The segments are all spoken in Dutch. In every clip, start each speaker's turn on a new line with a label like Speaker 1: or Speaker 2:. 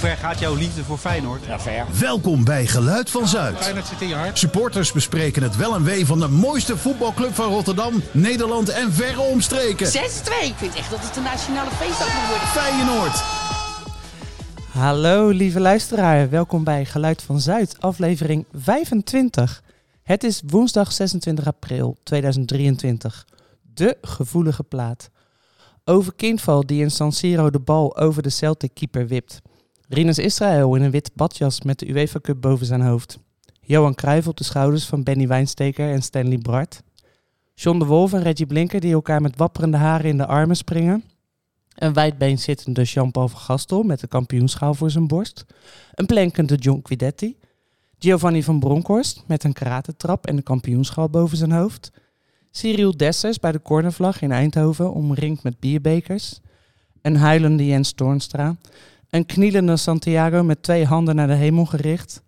Speaker 1: ver gaat jouw liefde voor Feyenoord?
Speaker 2: Ja, ver.
Speaker 3: Welkom bij Geluid van Zuid.
Speaker 1: Feyenoord zit in je hart.
Speaker 3: Supporters bespreken het wel en wee van de mooiste voetbalclub van Rotterdam, Nederland en verre omstreken.
Speaker 4: 6-2. Ik vind echt dat het een nationale feestdag moet worden.
Speaker 3: Feyenoord.
Speaker 5: Hallo lieve luisteraar, welkom bij Geluid van Zuid, aflevering 25. Het is woensdag 26 april 2023. De gevoelige plaat. Over kindval die in San Siro de bal over de Celtic keeper wipt. Rinus Israël in een wit badjas met de UEFA Cup boven zijn hoofd. Johan Cruijff op de schouders van Benny Wijnsteker en Stanley Bart. John de Wolf en Reggie Blinker die elkaar met wapperende haren in de armen springen. Een wijdbeen zittende Jean-Paul van Gastel met de kampioenschaal voor zijn borst. Een plankende John Guidetti. Giovanni van Bronckhorst met een karatentrap en de kampioenschaal boven zijn hoofd. Cyril Dessers bij de cornervlag in Eindhoven omringd met bierbekers. Een huilende Jens Toornstra. Een knielende Santiago met twee handen naar de hemel gericht.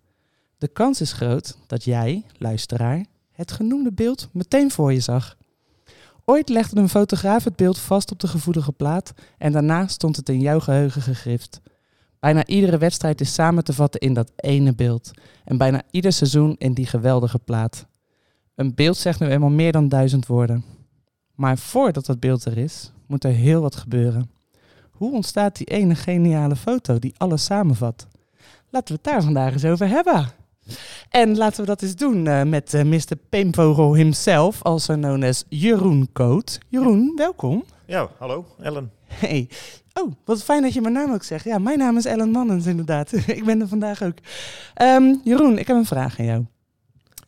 Speaker 5: De kans is groot dat jij, luisteraar, het genoemde beeld meteen voor je zag. Ooit legde een fotograaf het beeld vast op de gevoelige plaat en daarna stond het in jouw geheugen gegrift. Bijna iedere wedstrijd is samen te vatten in dat ene beeld en bijna ieder seizoen in die geweldige plaat. Een beeld zegt nu eenmaal meer dan duizend woorden. Maar voordat dat beeld er is, moet er heel wat gebeuren. Hoe ontstaat die ene geniale foto die alles samenvat? Laten we het daar vandaag eens over hebben. En laten we dat eens doen eh, met eh, Mr. Peemvogel himself, also known as Jeroen Koot. Jeroen, welkom.
Speaker 6: Ja, hallo Ellen.
Speaker 5: Hey. Oh, wat fijn dat je mijn naam ook zegt. Ja, mijn naam is Ellen Mannens inderdaad. ik ben er vandaag ook. Ehm, Jeroen, ik heb een vraag aan jou.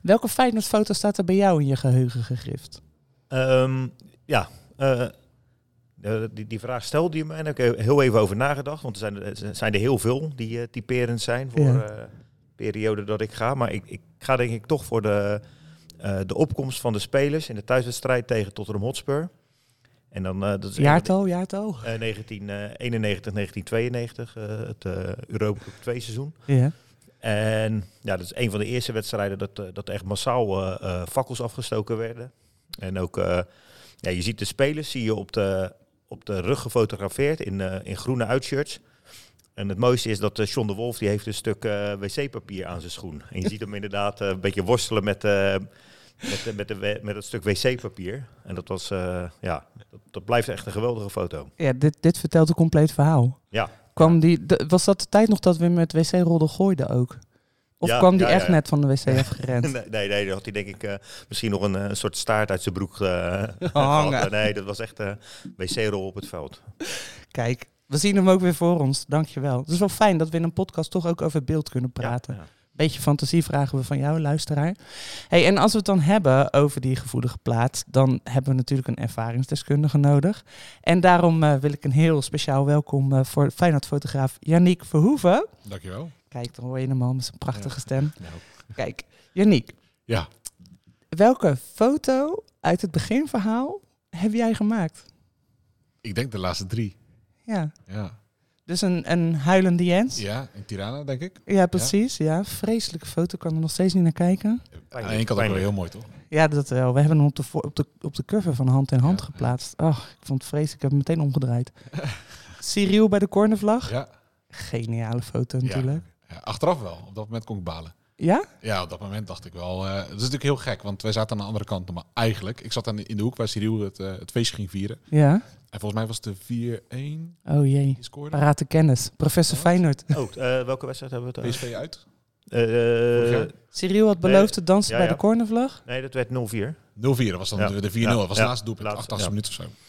Speaker 5: Welke Feyenoord-foto staat er bij jou in je geheugen gegrift?
Speaker 6: Ehm, ja, eh, eh, die, die vraag stelde je mij en daar heb ik heel even over nagedacht. Want er zijn er, er zijn er heel veel die eh, typerend zijn voor
Speaker 5: Ja.
Speaker 6: eh, de periode dat ik ga. Maar ik, ik ga denk ik toch voor de, eh, de opkomst van de spelers in de thuiswedstrijd tegen Tottenham Hotspur. En dan, eh, dat is
Speaker 5: Jaartal, jaartal.
Speaker 6: eh, 1991, 1992, eh, het eh Europa Cup 2 seizoen.
Speaker 5: Ja.
Speaker 6: En ja, dat is een van de eerste wedstrijden dat, eh, dat echt massaal eh eh, fakkels afgestoken werden. En ook, eh, ja, je ziet de spelers zie je op de, op de rug gefotografeerd in, eh, in groene uitshirts. En het mooiste is dat eh, John de Wolf, die heeft een stuk eh, wc-papier aan zijn schoen. En je ziet hem inderdaad eh, een beetje worstelen met, eh, met, de- met, de, we- met het stuk wc-papier. En dat was, eh, ja, dat, dat blijft echt een geweldige foto.
Speaker 5: Ja, dit, dit vertelt een compleet verhaal.
Speaker 6: Ja.
Speaker 5: Kwam die, de- was dat de tijd nog dat we met wc-rollen gooiden ook? Of
Speaker 6: Ja,
Speaker 5: kwam die
Speaker 6: ja, ja,
Speaker 5: echt
Speaker 6: ja.
Speaker 5: net van de wc afgerend?
Speaker 6: Nee, nee, nee, dan had hij denk ik eh, misschien nog een, eh, een soort staart uit zijn broek eh,
Speaker 5: Hangen.
Speaker 6: gehad. Nee, dat was echt eh wc-rol op het veld.
Speaker 5: Kijk, we zien hem ook weer voor ons. Dankjewel. Het is wel fijn dat we in een podcast toch ook over beeld kunnen praten.
Speaker 6: Ja, ja.
Speaker 5: Beetje fantasie vragen we van jou, luisteraar. Hey, en als we het dan hebben over die gevoelige plaat, dan hebben we natuurlijk een ervaringsdeskundige nodig. En daarom eh, wil ik een heel speciaal welkom eh, voor Feyenoord-fotograaf Yannick Verhoeven.
Speaker 7: Dankjewel.
Speaker 5: Kijk, dan hoor je hem al met zijn prachtige stem.
Speaker 7: Nou.
Speaker 5: Kijk, Yannick,
Speaker 7: Ja,
Speaker 5: welke foto uit het beginverhaal heb jij gemaakt?
Speaker 7: ik denk de laatste drie.
Speaker 5: Ja,
Speaker 7: Ja,
Speaker 5: dus een, een huilende Jens.
Speaker 7: ja in Tirana, denk ik.
Speaker 5: Ja, precies. Ja. Vreselijke foto, kan er nog steeds niet naar kijken.
Speaker 7: Aan de ene kant ook wel heel mooi, toch?
Speaker 5: Ja, dat wel. We hebben hem op de, vo- op de, op de cover van Hand in Hand
Speaker 7: Ja.
Speaker 5: geplaatst. Ach, ik vond het vreselijk. Ik heb hem meteen omgedraaid. Cyril bij de cornervlag.
Speaker 7: Ja,
Speaker 5: Geniale foto natuurlijk.
Speaker 7: ja, achteraf wel. Op dat moment kon ik balen.
Speaker 5: Ja?
Speaker 7: Ja, op dat moment dacht ik wel. eh, het is natuurlijk heel gek, want wij zaten aan de andere kant. Maar eigenlijk, ik zat aan de- in de hoek waar Cyril het, eh, het feestje ging vieren.
Speaker 5: Ja?
Speaker 7: En volgens mij was het de 4-1
Speaker 5: Oh jee.
Speaker 7: die scoorde.
Speaker 5: Parate kennis. Professor
Speaker 7: Wat?
Speaker 5: Feyenoord.
Speaker 6: Oh, eh, welke wedstrijd hebben we het over?
Speaker 7: PSV uit.
Speaker 6: Eh,
Speaker 7: Vorig jaar?
Speaker 5: Cyril had beloofd te dansen
Speaker 6: Ja,
Speaker 5: bij
Speaker 6: ja.
Speaker 5: de cornervlag.
Speaker 6: nee, dat werd 0-4.
Speaker 7: 0-4 dat was dan
Speaker 6: Ja.
Speaker 7: de 4-0. Dat was
Speaker 6: Ja.
Speaker 7: het laatste doelpunt,
Speaker 6: Laatste,
Speaker 7: 88
Speaker 6: ja.
Speaker 7: minuut of zo.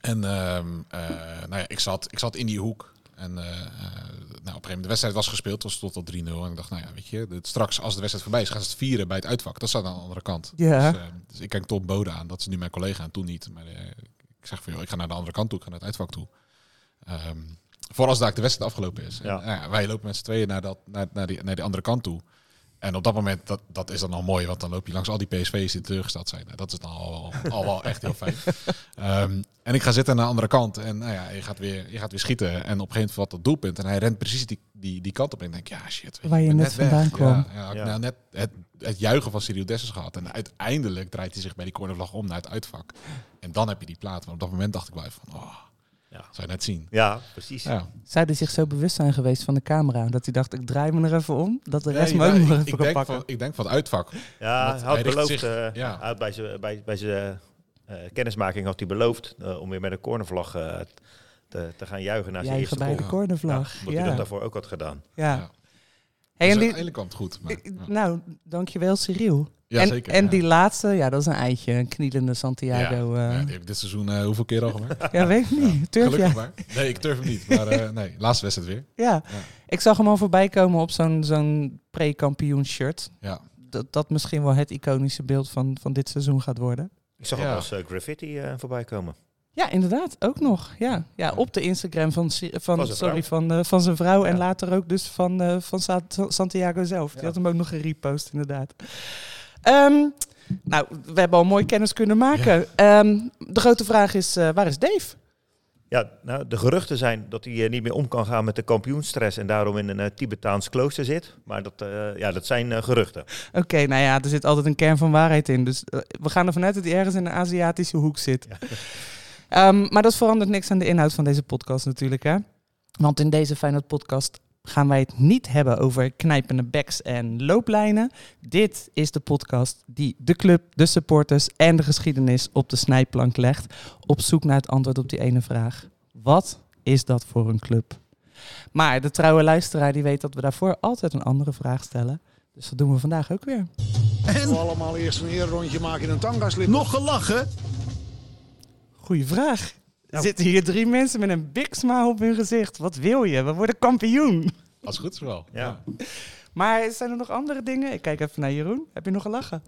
Speaker 7: En ehm, eh, nou ja, ik, zat, ik zat in die hoek. En eh, eh, nou, op een gegeven moment, de wedstrijd was gespeeld, was tot tot 3-0. En ik dacht, nou ja, weet je, dit- straks als de wedstrijd voorbij is, gaan ze het vieren bij het uitvak. Dat staat aan de andere kant.
Speaker 5: Ja.
Speaker 7: Dus, eh, dus ik kijk Tom Bode aan, dat is nu mijn collega en toen niet. Maar eh, ik zeg van, joh, ik ga naar de andere kant toe, ik ga naar het uitvak toe. Ehm voor als daar de wedstrijd afgelopen is. En,
Speaker 6: Ja.
Speaker 7: nou ja, wij lopen met z'n tweeën naar, dat, naar, naar, die, naar die andere kant toe. En op dat moment, dat, dat is dan al mooi, want dan loop je langs al die PSV's die teleurgesteld zijn. Nou, Dat is dan al, al, al wel echt heel fijn. Ehm, en ik ga zitten aan de andere kant en nou ja, je, gaat weer, je gaat weer schieten. En op een gegeven moment valt dat doelpunt en hij rent precies die, die, die kant op. En ik denk, ja shit. weet
Speaker 5: Waar
Speaker 7: ik
Speaker 5: je
Speaker 7: ben
Speaker 5: net vandaan
Speaker 7: weg.
Speaker 5: kwam.
Speaker 7: Ja, ja, had ik
Speaker 6: Ja.
Speaker 7: nou net het, het juichen van Cyril Dessers gehad. En uiteindelijk draait hij zich bij die cornervlag om naar het uitvak. En dan heb je die plaat. Maar op dat moment dacht ik wel even van, oh,
Speaker 6: Ja.
Speaker 7: Zou je net zien.
Speaker 6: Ja, precies.
Speaker 7: Ja.
Speaker 5: Zou hij zich zo bewust zijn geweest van de camera? Dat hij dacht, ik draai me er even om. Dat de rest me ook
Speaker 7: Nee,
Speaker 5: nog
Speaker 7: ik,
Speaker 5: even
Speaker 7: ik
Speaker 5: kan
Speaker 7: denk
Speaker 5: pakken.
Speaker 7: van, ik denk van het uitvak. Dus
Speaker 6: Ja,
Speaker 7: Want
Speaker 6: hij
Speaker 7: hij
Speaker 6: had
Speaker 7: richt
Speaker 6: beloofd,
Speaker 7: zich-
Speaker 6: eh,
Speaker 7: ja.
Speaker 6: hij had bij zijn bij, bij zijn, eh, kennismaking had hij beloofd eh, om weer met een cornervlag eh, te, te gaan juichen naar zijn
Speaker 5: Jij
Speaker 6: eerste
Speaker 5: bij
Speaker 6: goal.
Speaker 5: de
Speaker 7: goal.
Speaker 5: cornervlag.
Speaker 6: Omdat
Speaker 5: Ja,
Speaker 6: hij dat
Speaker 5: ja.
Speaker 6: daarvoor ook had gedaan.
Speaker 7: Ja.
Speaker 5: Hey,
Speaker 7: dus
Speaker 5: en die-
Speaker 7: uiteindelijk kwam het goed. Maar, ja.
Speaker 5: Nou, dankjewel Cyril.
Speaker 7: Ja,
Speaker 5: en
Speaker 7: zeker,
Speaker 5: en
Speaker 7: ja.
Speaker 5: die laatste, ja, dat is een eitje. Een knielende
Speaker 7: Ja.
Speaker 5: Santiago. eh.
Speaker 7: Ja, die heb ik dit seizoen eh, hoeveel keer al gemaakt?
Speaker 5: ja, weet ik niet. Turf
Speaker 7: Gelukkig
Speaker 5: jij?
Speaker 7: maar. Nee, ik durf hem niet. Maar eh, nee, laatste wedstrijd weer.
Speaker 5: Ja.
Speaker 7: Ja.
Speaker 5: Ik zag hem al voorbij komen op zo'n zo'n pre-kampioen shirt.
Speaker 7: Ja.
Speaker 5: Dat, dat misschien wel het iconische beeld van, van dit seizoen gaat worden.
Speaker 6: Ik zag
Speaker 7: Ja.
Speaker 6: ook als graffiti eh, voorbij komen.
Speaker 5: Ja, inderdaad. Ook nog. Ja, ja op de Instagram van, Si- van,
Speaker 6: Van zijn
Speaker 5: sorry,
Speaker 6: vrouw.
Speaker 5: van, eh, van zijn vrouw. En
Speaker 6: Ja.
Speaker 5: later ook dus van, eh, van Sa- Santiago zelf. Die
Speaker 6: Ja.
Speaker 5: had hem ook nog gerepost, inderdaad. Ehm, nou, we hebben al mooi kennis kunnen maken. Ehm, de grote vraag is, eh, waar is Dave?
Speaker 6: Ja, nou, de geruchten zijn dat hij eh, niet meer om kan gaan met de kampioenstress en daarom in een eh, Tibetaans klooster zit. Maar dat, eh, ja, dat zijn eh, geruchten.
Speaker 5: Oké, nou ja, er zit altijd een kern van waarheid in. Dus eh, we gaan ervan uit dat hij ergens in een Aziatische hoek zit. Ehm, maar dat verandert niks aan de inhoud van deze podcast natuurlijk, hè? Want in deze Feyenoord podcast gaan wij het niet hebben over knijpende backs en looplijnen. Dit is de podcast die de club, de supporters en de geschiedenis op de snijplank legt. Op zoek naar het antwoord op die ene vraag. Wat is dat voor een club? Maar de trouwe luisteraar die weet dat we daarvoor altijd een andere vraag stellen. Dus dat doen we vandaag ook weer.
Speaker 3: En
Speaker 2: allemaal eerst een rondje maken in een tangaslip.
Speaker 3: nog gelachen.
Speaker 5: Goeie vraag. Er Zitten hier drie mensen met een big smile op hun gezicht? Wat wil je? We worden kampioen.
Speaker 7: Als het goed is wel.
Speaker 6: Ja.
Speaker 5: Maar zijn er nog andere dingen? Ik kijk even naar Jeroen. Heb je nog gelachen?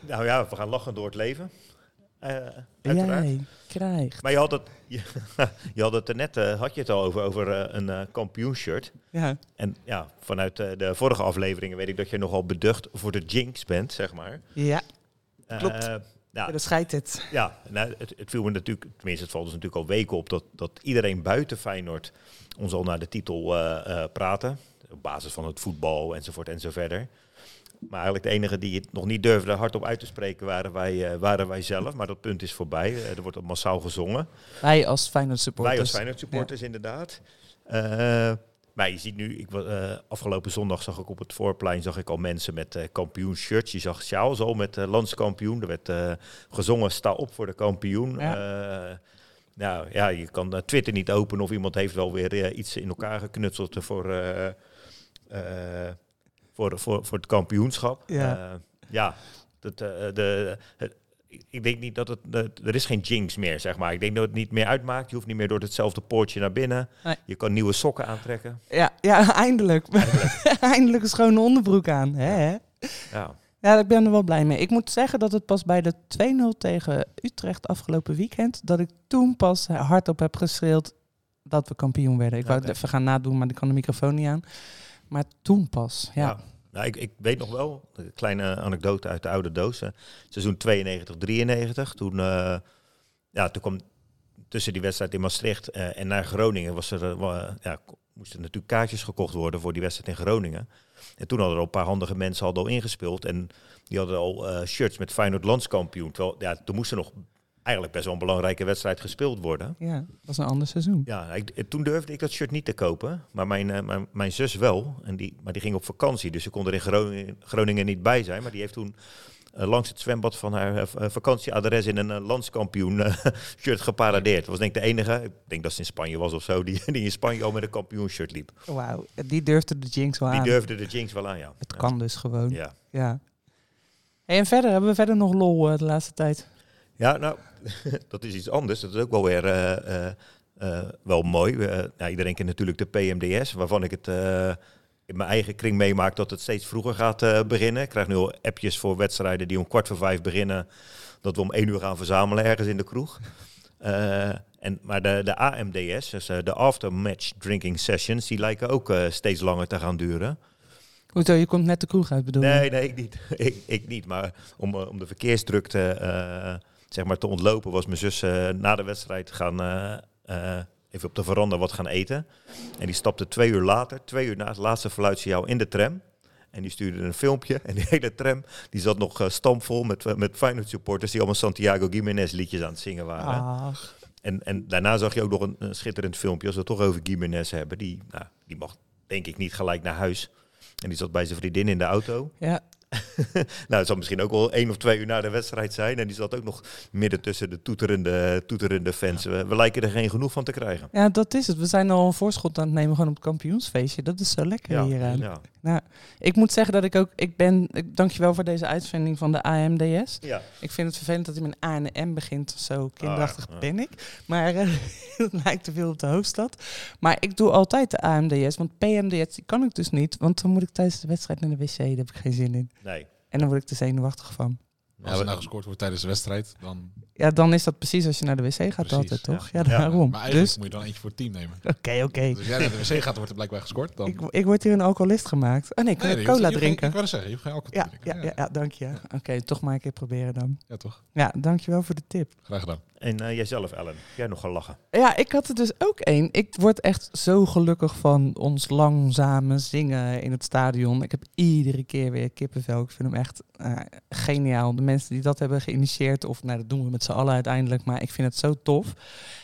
Speaker 6: Nou ja, we gaan lachen door het leven. Eh, uiteraard.
Speaker 5: Jij krijgt.
Speaker 6: Maar je had het, je, je had het er net eh, had je het al over, over eh, een eh kampioenshirt.
Speaker 5: Ja.
Speaker 6: En ja, vanuit eh, de vorige afleveringen weet ik dat je nogal beducht voor de jinx bent, zeg maar.
Speaker 5: Ja,
Speaker 6: Eh,
Speaker 5: Klopt.
Speaker 6: ja,
Speaker 5: dat scheidt het.
Speaker 6: ja nou, het, het viel me natuurlijk, tenminste het valt ons natuurlijk al weken op, dat, dat iedereen buiten Feyenoord ons al naar de titel eh, eh, praten. Op basis van het voetbal enzovoort enzoverder. Maar eigenlijk de enige die het nog niet durfde hardop uit te spreken waren wij, eh, waren wij zelf. Maar dat punt is voorbij. Eh, er wordt al massaal gezongen.
Speaker 5: Wij als Feyenoord supporters.
Speaker 6: Wij als Feyenoord supporters, inderdaad. Eh, maar je ziet nu, ik, wa- eh, afgelopen zondag zag ik op het voorplein zag ik al mensen met eh kampioenshirts. Je zag Charles al met eh, landskampioen. Er werd eh, gezongen, sta op voor de kampioen. Eh, nou ja, je kan eh, Twitter niet openen of iemand heeft wel weer eh, iets in elkaar geknutseld voor, eh, eh, voor, voor, voor het kampioenschap.
Speaker 5: Ja.
Speaker 6: Eh, ja dat, eh, de, het- ik- ik denk niet dat het, dat- er is geen jinx meer, zeg maar. Ik denk dat het niet meer uitmaakt. Je hoeft niet meer door hetzelfde poortje naar binnen.
Speaker 5: Nee.
Speaker 6: Je kan nieuwe sokken aantrekken.
Speaker 5: Ja, ja eindelijk. eindelijk een schone onderbroek aan. Hè? hè?
Speaker 6: Ja.
Speaker 5: Ja, ik ben er wel blij mee. Ik moet zeggen dat het pas bij de 2-0 tegen Utrecht afgelopen weekend, dat ik toen pas hardop heb geschreeuwd dat we kampioen werden. Ik wou
Speaker 6: Oké.
Speaker 5: het even gaan nadoen, maar ik kan de microfoon niet aan. Maar toen pas, ja.
Speaker 6: Ja. Nou, ik, ik weet nog wel, een kleine anekdote uit de oude dozen. Seizoen 92, 93. Toen, eh, ja, toen kwam tussen die wedstrijd in Maastricht eh, en naar Groningen was er, eh, wa- ja, ko- moesten natuurlijk kaartjes gekocht worden voor die wedstrijd in Groningen. En toen hadden er al een paar handige mensen hadden al ingespeeld. En die hadden al eh, shirts met Feyenoord landskampioen. Terwijl, ja, toen moest er nog eigenlijk best wel een belangrijke wedstrijd gespeeld worden.
Speaker 5: Ja, dat was een ander seizoen.
Speaker 6: Ja, ik, eh, toen durfde ik dat shirt niet te kopen. Maar mijn, eh, mijn, mijn zus wel. En die, maar die ging op vakantie. Dus ze kon er in Groningen, Groningen niet bij zijn. Maar die heeft toen eh, langs het zwembad van haar eh, v- eh, vakantieadres in een eh, landskampioen eh, shirt geparadeerd. Dat was denk ik de enige. Ik denk dat ze in Spanje was of zo. Die, die in Spanje al met een kampioenshirt liep.
Speaker 5: Wauw, die durfde de jinx wel
Speaker 6: Die
Speaker 5: aan.
Speaker 6: durfde de jinx wel aan, ja.
Speaker 5: Het kan dus gewoon, ja.
Speaker 6: Ja,
Speaker 5: Hey, en verder, hebben we verder nog lol eh, de laatste tijd?
Speaker 6: ja nou, dat is iets anders. Dat is ook wel weer eh, eh, eh, wel mooi. Eh, nou, iedereen kent natuurlijk de PMDS, waarvan ik het eh, in mijn eigen kring meemaak dat het steeds vroeger gaat eh, beginnen. Ik krijg nu al appjes voor wedstrijden die om kwart voor vijf beginnen, dat we om één uur gaan verzamelen ergens in de kroeg. Eh, en, maar de, de AMDS, dus eh, de aftermatch drinking sessions, die lijken ook eh, steeds langer te gaan duren.
Speaker 5: Hoezo, je komt net de kroeg uit, bedoel je?
Speaker 6: Nee, nee, ik niet. ik, ik niet. Maar om, eh, om de verkeersdrukte eh, zeg maar te ontlopen, was mijn zus eh, na de wedstrijd gaan eh, eh, even op de veranda wat gaan eten. En die stapte twee uur later, twee uur na het laatste fluitsignaal in de tram. En die stuurde een filmpje. En die hele tram die zat eh,
Speaker 5: Ah.
Speaker 6: nog eh, stampvol met, met Feyenoord supporters die allemaal Santiago Gimenez liedjes aan het zingen waren.
Speaker 5: Ach,
Speaker 6: En, en daarna zag je ook nog een, een schitterend filmpje, als we het toch over Gimenez hebben. Die, nou, die mag denk ik niet gelijk naar huis. En die zat bij zijn vriendin in de auto.
Speaker 5: Ja,
Speaker 6: Nou, het zal misschien ook wel één of twee uur na de wedstrijd zijn. En die zat ook nog midden tussen de toeterende, toeterende fans. We, we lijken er geen genoeg van te krijgen.
Speaker 5: ja, dat is het. We zijn al een voorschot aan het nemen gewoon op het kampioensfeestje. Dat is zo lekker hieraan.
Speaker 6: ja.
Speaker 5: Nou, ik moet zeggen dat ik ook, ik ben, ik, dankjewel voor deze uitvinding van de AMDS.
Speaker 6: ja.
Speaker 5: Ik vind het vervelend dat hij met A en M begint. Zo kinderachtig
Speaker 6: Ah, ja.
Speaker 5: ben ik. Maar eh, het lijkt te veel op de hoofdstad. Maar ik doe altijd de AMDS. Want PMDS die kan ik dus niet. Want dan moet ik tijdens de wedstrijd naar de wc. Daar heb ik geen zin in.
Speaker 6: Nee.
Speaker 5: En dan word ik er zenuwachtig van.
Speaker 7: Als
Speaker 6: we-
Speaker 7: er nou gescoord wordt tijdens de wedstrijd, dan...
Speaker 5: Ja, dan is dat precies als je naar de wc gaat
Speaker 7: Precies,
Speaker 5: altijd,
Speaker 7: ja.
Speaker 5: toch? Ja,
Speaker 6: Ja,
Speaker 5: daarom.
Speaker 7: Maar eigenlijk
Speaker 5: dus,
Speaker 7: moet je dan eentje voor het team nemen.
Speaker 5: oké, oké.
Speaker 7: Dus als jij naar de wc gaat, wordt er blijkbaar gescoord. Dan...
Speaker 5: Ik, ik word hier een alcoholist gemaakt. Oh nee, ik kan
Speaker 7: Nee,
Speaker 5: ook
Speaker 7: je hoeft-
Speaker 5: cola
Speaker 7: je hoeft geen-
Speaker 5: drinken.
Speaker 7: Ik wou net zeggen, je hoeft geen alcohol
Speaker 5: Ja,
Speaker 7: te drinken.
Speaker 5: ja, ja, ja, dank je. Oké, toch maar een keer proberen dan.
Speaker 7: Ja, toch?
Speaker 5: Ja, dankjewel voor de tip.
Speaker 7: Graag gedaan.
Speaker 6: En eh, jijzelf, Ellen. Jij nog gaan lachen.
Speaker 5: Ja, ik had er dus ook één. Ik word echt zo gelukkig van ons langzame zingen in het stadion. Ik heb iedere keer weer kippenvel. Ik vind hem echt eh, geniaal. De mensen die dat hebben geïnitieerd, of nou, dat doen we met z'n allen uiteindelijk, maar ik vind het zo tof.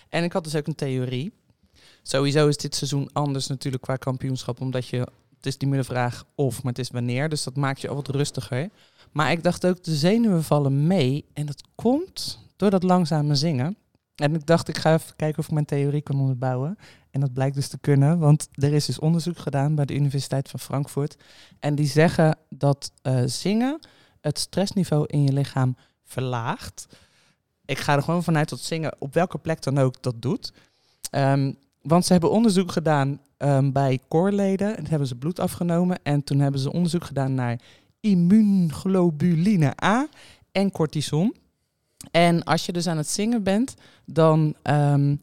Speaker 5: En ik had dus ook een theorie. Sowieso is dit seizoen anders natuurlijk qua kampioenschap, omdat je, het is niet meer de vraag of, maar het is wanneer. Dus dat maakt je al wat rustiger. Maar ik dacht ook, de zenuwen vallen mee. En dat komt door dat langzame zingen. En ik dacht, ik ga even kijken of ik mijn theorie kan onderbouwen. En dat blijkt dus te kunnen, want er is dus onderzoek gedaan bij de Universiteit van Frankfurt. En die zeggen dat eh, zingen het stressniveau in je lichaam verlaagt. Ik ga er gewoon vanuit dat zingen op welke plek dan ook dat doet. Ehm, want ze hebben onderzoek gedaan ehm, bij koorleden. En toen hebben ze bloed afgenomen. En toen hebben ze onderzoek gedaan naar immuunglobuline A en cortison. En als je dus aan het zingen bent, dan ehm,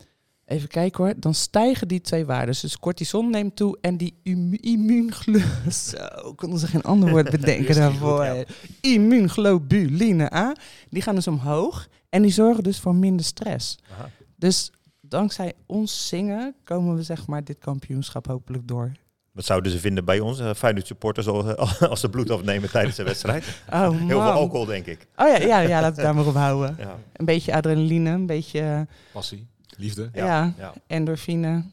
Speaker 5: even kijken hoor, dan stijgen die twee waarden. Dus cortison neemt toe en die immu- immuunglo- Zo, ik kon ons geen ander woord
Speaker 6: Is
Speaker 5: bedenken
Speaker 6: niet
Speaker 5: daarvoor.
Speaker 6: goed, ja.
Speaker 5: Immuunglobuline A, die gaan dus omhoog en die zorgen dus voor minder stress.
Speaker 6: Aha.
Speaker 5: Dus dankzij ons zingen komen we zeg maar dit kampioenschap hopelijk door.
Speaker 6: Wat zouden ze vinden bij ons? eh, Feyenoord supporters als, eh, als ze bloed afnemen tijdens de wedstrijd.
Speaker 5: Oh,
Speaker 6: Heel
Speaker 5: man.
Speaker 6: veel alcohol, denk ik.
Speaker 5: Oh ja, ja, ja, laten we daar maar op houden.
Speaker 6: Ja.
Speaker 5: Een beetje adrenaline, een beetje eh,
Speaker 7: Passie, liefde.
Speaker 6: Ja.
Speaker 5: Ja.
Speaker 6: ja.
Speaker 5: endorfine.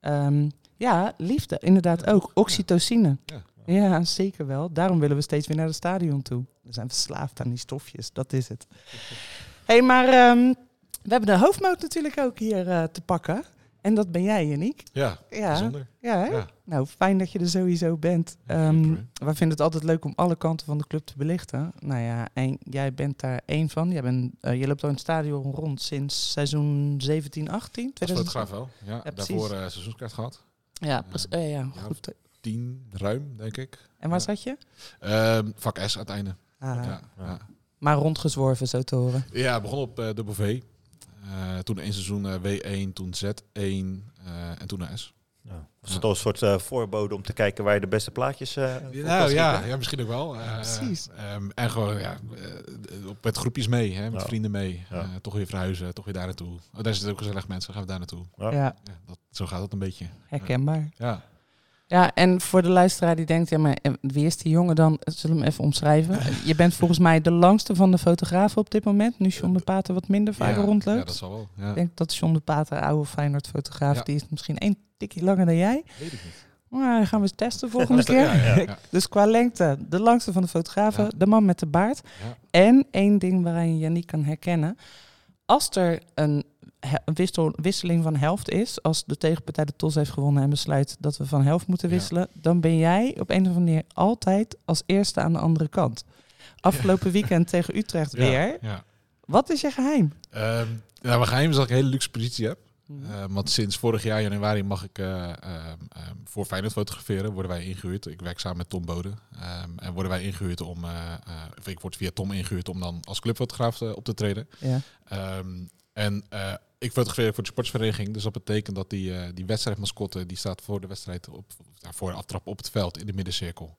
Speaker 5: Ehm, ja, liefde, inderdaad ook. Oxytocine.
Speaker 7: Ja.
Speaker 5: Ja, zeker wel. Daarom willen we steeds weer naar het stadion toe. We zijn verslaafd aan die stofjes, dat is het. Hé, hey, maar ehm, we hebben de hoofdmoot natuurlijk ook hier eh, te pakken. En dat ben jij, Yannick.
Speaker 7: Ja,
Speaker 5: Ja,
Speaker 7: bijzonder.
Speaker 5: ja, hè?
Speaker 7: Ja.
Speaker 5: Nou, fijn dat je er sowieso bent. Ehm,
Speaker 7: super,
Speaker 5: we vinden het altijd leuk om alle kanten van de club te belichten. Nou ja, en jij bent daar één van. Jij bent, eh, je loopt al in het stadion rond sinds seizoen 17, 18.
Speaker 7: Als
Speaker 5: 2000...
Speaker 7: fotograaf wel. Ja,
Speaker 5: precies.
Speaker 7: daarvoor eh seizoenskaart gehad.
Speaker 5: Ja, precies. Eh, ja,
Speaker 7: Ja,
Speaker 5: goed.
Speaker 7: Tien, ruim, denk ik.
Speaker 5: En waar
Speaker 7: ja.
Speaker 5: zat je?
Speaker 7: Ehm, vak S aan het einde.
Speaker 5: Ah,
Speaker 7: Ja, ja.
Speaker 5: Maar rondgezworven, zo te horen.
Speaker 7: Ja, begon op eh dubbel V. Eh, toen één seizoen eh, W1, toen Z1 eh, en toen naar S.
Speaker 6: Ja. Nou, Was het al een soort eh, voorbode om te kijken waar je de beste plaatjes... eh, op kan
Speaker 7: Nou ja,
Speaker 6: schieten?
Speaker 7: ja, misschien ook wel. Eh,
Speaker 5: Precies.
Speaker 7: ehm, en gewoon ja, eh, op- met groepjes mee, hè, met
Speaker 6: Ja.
Speaker 7: vrienden mee.
Speaker 6: Ja.
Speaker 7: Eh, toch weer verhuizen, toch weer daar naartoe. Oh, daar zitten ook gezellig mensen, gaan we daar naartoe.
Speaker 6: Ja.
Speaker 5: ja,
Speaker 7: Ja, dat, zo gaat dat een beetje.
Speaker 5: herkenbaar.
Speaker 7: Ja.
Speaker 5: Ja, en voor de luisteraar die denkt, ja, maar eh, wie is die jongen dan? Eh, Zullen we hem even omschrijven? Je bent volgens mij de langste van de fotografen op dit moment. Nu John de Pater wat minder vaker
Speaker 7: ja,
Speaker 5: rondloopt.
Speaker 7: Ja, dat zal wel. Ja.
Speaker 5: Ik denk dat John de Pater, oude Feyenoord-fotograaf,
Speaker 7: Ja.
Speaker 5: die is misschien één tikje langer dan jij.
Speaker 7: Weet ik niet.
Speaker 5: Maar dan gaan we eens testen volgende keer.
Speaker 7: Ja.
Speaker 5: Dus qua lengte, de langste van de fotografen,
Speaker 7: Ja.
Speaker 5: de man met de baard.
Speaker 7: Ja.
Speaker 5: En één ding waarin je niet kan herkennen. Als er een he- een wissel, wisseling van helft is, als de tegenpartij de tos heeft gewonnen en besluit dat we van helft moeten
Speaker 7: Ja.
Speaker 5: wisselen, dan ben jij op een of andere manier altijd als eerste aan de andere kant. Afgelopen weekend tegen Utrecht
Speaker 7: Ja,
Speaker 5: weer.
Speaker 7: ja.
Speaker 5: Wat is je geheim?
Speaker 7: Ehm, nou, mijn geheim is dat ik een hele luxe positie heb.
Speaker 5: Mhm.
Speaker 7: Eh, want sinds vorig jaar januari mag ik eh, ehm, ehm, voor Feyenoord fotograferen. Worden wij ingehuurd. Ik werk samen met Tom Bode. Ehm, en worden wij ingehuurd om... eh, eh, of ik word via Tom ingehuurd om dan als clubfotograaf eh, op te treden.
Speaker 5: Ja.
Speaker 7: Ehm, en eh, ik fotografeer voor de sportsvereniging. Dus dat betekent dat die, eh die wedstrijdmascotte... die staat voor de wedstrijd op, ja, voor de aftrap op het veld in de middencirkel.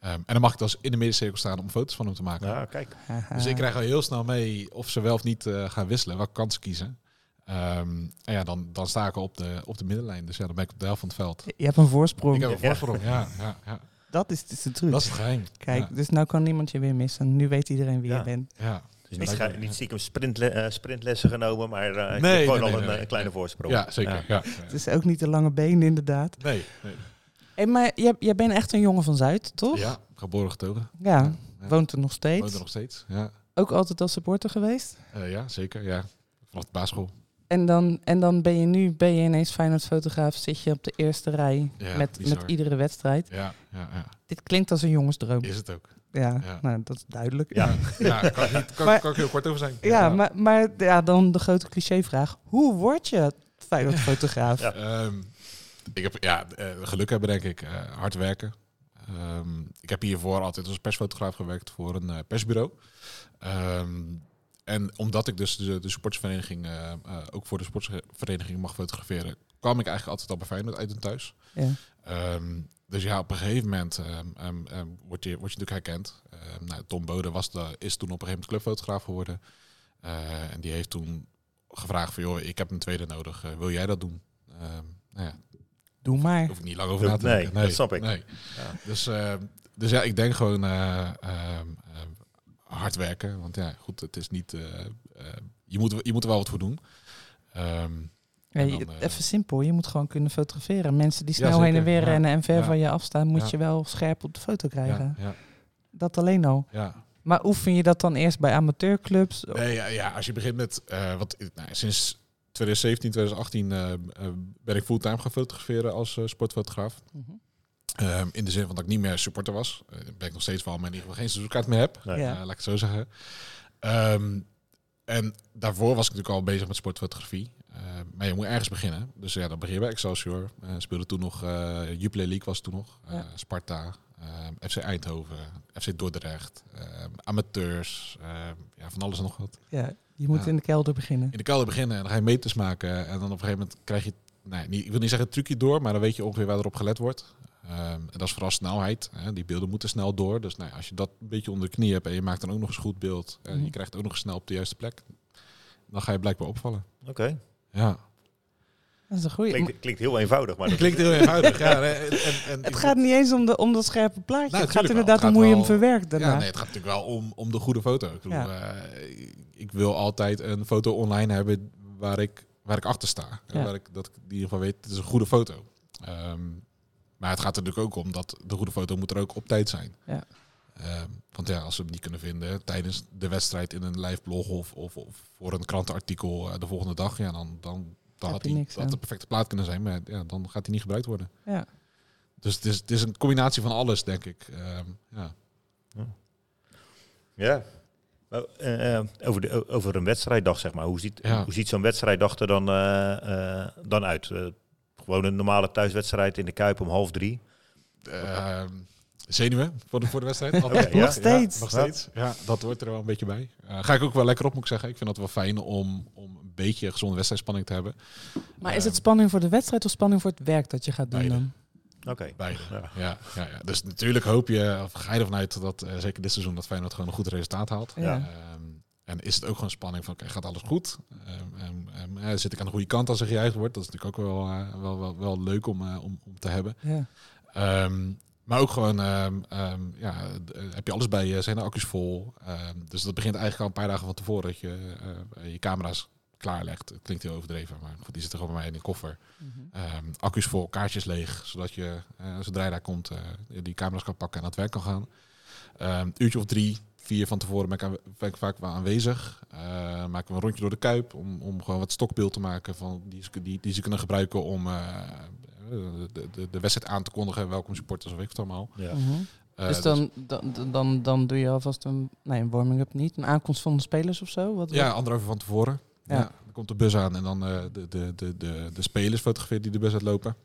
Speaker 7: Ehm, en dan mag ik dus in de middencirkel staan om foto's van hem te maken.
Speaker 6: Ja, kijk.
Speaker 7: Dus
Speaker 5: Ah.
Speaker 7: ik krijg al heel snel mee of ze wel of niet eh, gaan wisselen, welke kans ze kiezen. Ehm, en ja, dan, dan sta ik al op de, op de middenlijn. Dus ja, dan ben ik op de helft van het veld.
Speaker 5: Je hebt een
Speaker 7: Ik
Speaker 5: voorsprong.
Speaker 7: heb een voorsprong, ja. ja, ja.
Speaker 5: Dat is dus de truc.
Speaker 7: Dat is het geheim.
Speaker 5: Kijk,
Speaker 7: Ja,
Speaker 5: dus nou kan niemand je weer missen. Nu weet iedereen wie
Speaker 6: Ja.
Speaker 5: je bent.
Speaker 7: ja.
Speaker 6: Dus Dus niet, scha- niet stiekem sprintle- eh, sprintlessen genomen, maar eh, ik
Speaker 7: Nee,
Speaker 6: heb gewoon al
Speaker 7: nee, nee,
Speaker 6: een,
Speaker 7: nee,
Speaker 6: eh, kleine voorsprong.
Speaker 7: Ja, zeker. Ja.
Speaker 5: Het is ook niet de lange benen, inderdaad.
Speaker 7: Nee, nee.
Speaker 5: Hey, maar jij, jij bent echt een jongen van Zuid, toch?
Speaker 7: Ja, geboren getogen.
Speaker 5: Ja,
Speaker 7: Ja.
Speaker 5: Woont er nog steeds.
Speaker 7: Woont er nog steeds. Ja,
Speaker 5: Ook altijd als supporter geweest.
Speaker 7: Eh, ja zeker. Ja. Vanaf de basisschool.
Speaker 5: En dan, en dan ben je nu ben je ineens Feyenoord-fotograaf. Zit je op de eerste rij
Speaker 7: Ja,
Speaker 5: met,
Speaker 7: bizar.
Speaker 5: met iedere wedstrijd.
Speaker 7: Ja, ja, ja.
Speaker 5: Dit klinkt als een jongensdroom.
Speaker 7: Is het ook.
Speaker 5: Ja,
Speaker 7: Ja.
Speaker 5: Nou, dat is duidelijk.
Speaker 6: Ja.
Speaker 7: Ja, kan ik, niet, kan,
Speaker 5: Maar-
Speaker 7: kan ik heel kort over zijn.
Speaker 5: Ja, maar, maar ja, dan de grote clichévraag. Hoe word je Feyenoord-fotograaf?
Speaker 6: Ja.
Speaker 7: Ehm, ik heb ja, eh, geluk hebben, denk ik. Eh, hard werken. Ehm, ik heb hiervoor altijd als persfotograaf gewerkt voor een eh, persbureau. Ehm, en omdat ik dus de, de sportsvereniging, eh, eh, ook voor de sportsvereniging mag fotograferen, kwam ik eigenlijk altijd al bij Feyenoord uit en thuis.
Speaker 5: Ja.
Speaker 7: Ehm, dus ja, op een gegeven moment ehm, ehm, ehm, word, je, word je natuurlijk herkend. Ehm, nou, Tom Bode was de, is toen op een gegeven moment clubfotograaf geworden. Eh, en die heeft toen gevraagd van, joh, ik heb een tweede nodig. Eh, wil jij dat doen? Ehm, nou ja,
Speaker 5: Doe maar.
Speaker 7: daar hoef ik niet lang over na te
Speaker 6: Nee,
Speaker 7: denken.
Speaker 6: dat snap ik.
Speaker 7: nee.
Speaker 6: Ja.
Speaker 7: Dus, ehm, dus ja, ik denk gewoon eh, ehm, ehm, hard werken. Want ja, goed, het is niet... eh, eh, je, moet, je moet er wel wat voor doen. Ehm, en
Speaker 5: Nee,
Speaker 7: dan, eh,
Speaker 5: even simpel, je moet gewoon kunnen fotograferen. Mensen die
Speaker 7: Ja,
Speaker 5: snel
Speaker 7: zeker.
Speaker 5: heen en weer
Speaker 7: Ja.
Speaker 5: rennen en ver
Speaker 7: Ja.
Speaker 5: van je afstaan, moet
Speaker 7: Ja.
Speaker 5: je wel scherp op de foto krijgen.
Speaker 7: ja, ja,
Speaker 5: Dat alleen al.
Speaker 7: ja.
Speaker 5: Maar oefen je dat dan eerst bij amateurclubs?
Speaker 7: Nee, ja, ja, als je begint met... eh, wat, nou, sinds 2017, 2018 eh, eh, ben ik fulltime gaan fotograferen als eh, sportfotograaf.
Speaker 5: Mhm.
Speaker 7: Ehm, in de zin van dat ik niet meer supporter was. Eh, ben ik nog steeds wel, maar in ieder geval geen seizoenkaart meer heb.
Speaker 6: Nee.
Speaker 5: Ja.
Speaker 7: Eh, laat ik het zo zeggen. Ehm, en daarvoor was ik natuurlijk al bezig met sportfotografie. Eh, maar je moet ergens beginnen. Dus ja, dan begin je bij Excelsior. Eh, speelde toen nog, eh Jupiler League was toen nog. Eh,
Speaker 5: Ja.
Speaker 7: Sparta, eh, FC Eindhoven, FC Dordrecht, eh, amateurs. eh, ja, van alles en nog wat
Speaker 5: Ja, je moet
Speaker 7: Ja.
Speaker 5: in de kelder beginnen.
Speaker 7: in de kelder beginnen en dan ga je meters maken. En dan op een gegeven moment krijg je, nee, niet, ik wil niet zeggen het trucje door, maar dan weet je ongeveer waar erop gelet wordt. Ehm, en dat is vooral snelheid. Hè. Die beelden moeten snel door. Dus nou, ja, als je dat een beetje onder de knie hebt en je maakt dan ook nog eens goed beeld en
Speaker 5: Mhm.
Speaker 7: je krijgt het ook nog eens snel op de juiste plek, dan ga je blijkbaar opvallen.
Speaker 6: Oké,
Speaker 7: Ja.
Speaker 5: Dat is een goeie.
Speaker 6: klinkt, klinkt heel eenvoudig, maar dat
Speaker 7: Klinkt heel eenvoudig. ja, nee, en, en, en-
Speaker 5: Het gaat niet eens om, de, om dat scherpe plaatje.
Speaker 7: Nou,
Speaker 5: het gaat
Speaker 7: tuurlijk
Speaker 5: inderdaad
Speaker 7: wel. Het gaat
Speaker 5: om hoe je hem
Speaker 7: wel-
Speaker 5: verwerkt daarna.
Speaker 7: Ja, nee, het gaat natuurlijk wel om, om de goede foto. Ik, bedoel, eh, ik wil altijd een foto online hebben waar ik, waar ik achter sta. En
Speaker 5: Ja.
Speaker 7: Waar ik dat ik in ieder geval weet, het is een goede foto. Ehm, maar het gaat er natuurlijk ook om dat de goede foto moet er ook op tijd zijn.
Speaker 5: Ja.
Speaker 7: Ehm, want ja, als ze hem niet kunnen vinden tijdens de wedstrijd in een live blog of, of, of voor een krantenartikel eh, de volgende dag, ja, dan, dan,
Speaker 5: Heb
Speaker 7: dan had
Speaker 5: je
Speaker 7: hij
Speaker 5: niks
Speaker 7: had
Speaker 5: aan.
Speaker 7: de perfecte plaat kunnen zijn, maar ja, dan gaat hij niet gebruikt worden.
Speaker 5: Ja.
Speaker 7: Dus het is, het is een combinatie van alles, denk ik. Ehm, ja.
Speaker 6: Ja. Maar, eh, eh, over, de, o- over een wedstrijddag, zeg maar. Hoe ziet,
Speaker 7: Ja.
Speaker 6: hoe ziet zo'n wedstrijddag er dan, eh, eh, dan uit? Eh, gewoon een normale thuiswedstrijd in de Kuip om half drie.
Speaker 7: Ehm, zenuwen voor de, voor de wedstrijd. Altijd.
Speaker 6: ja,
Speaker 5: nog steeds.
Speaker 7: Nog steeds. Ja, dat hoort er wel een beetje bij. Eh, ga ik ook wel lekker op, moet ik zeggen. Ik vind dat wel fijn om, om een beetje gezonde wedstrijdspanning te hebben.
Speaker 5: maar is het spanning voor de wedstrijd of spanning voor het werk dat je gaat doen
Speaker 7: Beide.
Speaker 5: dan?
Speaker 6: Oké.
Speaker 7: Beide.
Speaker 6: Ja.
Speaker 7: Ja. Ja, ja, Dus natuurlijk hoop je, of ga je ervan uit dat eh, zeker dit seizoen, dat Feyenoord gewoon een goed resultaat haalt.
Speaker 5: Ja. Ja.
Speaker 7: Ehm, en is het ook gewoon spanning van, oké, gaat alles goed? Ehm, ehm, ehm, eh, zit ik aan de goede kant als er gejuicht wordt? Dat is natuurlijk ook wel, eh, wel, wel, wel leuk om, eh, om, om te hebben.
Speaker 5: Ja.
Speaker 7: Ehm, maar ook gewoon, ehm, ehm, ja, d- eh, heb je alles bij je, zijn de accu's vol. Ehm, dus dat begint eigenlijk al een paar dagen van tevoren dat je eh, je camera's klaarlegt. Het klinkt heel overdreven, maar goed, die zitten gewoon bij mij in de koffer. Ehm, accu's vol, kaartjes leeg, zodat je, eh, zodra je daar komt, eh, die camera's kan pakken en aan het werk kan gaan. Ehm uurtje of drie, vier van tevoren ben ik, aan- ben ik vaak wel aanwezig. Eh maken we een rondje door de kuip om, om gewoon wat stokbeeld te maken van die, ze- die, die ze kunnen gebruiken om eh, de, de, de wedstrijd aan te kondigen. Welkom supporters of ik het allemaal.
Speaker 6: Ja.
Speaker 5: Mhm.
Speaker 7: Eh,
Speaker 5: dus dan, dan, dan, dan doe je alvast een, nee, een warming-up niet. Een aankomst van de spelers of zo? Wat,
Speaker 7: Ja, anderhalf uur van tevoren.
Speaker 5: Ja.
Speaker 7: Ja. dan komt de bus aan en dan eh, de, de, de, de, de spelers fotografeert die de bus uitlopen.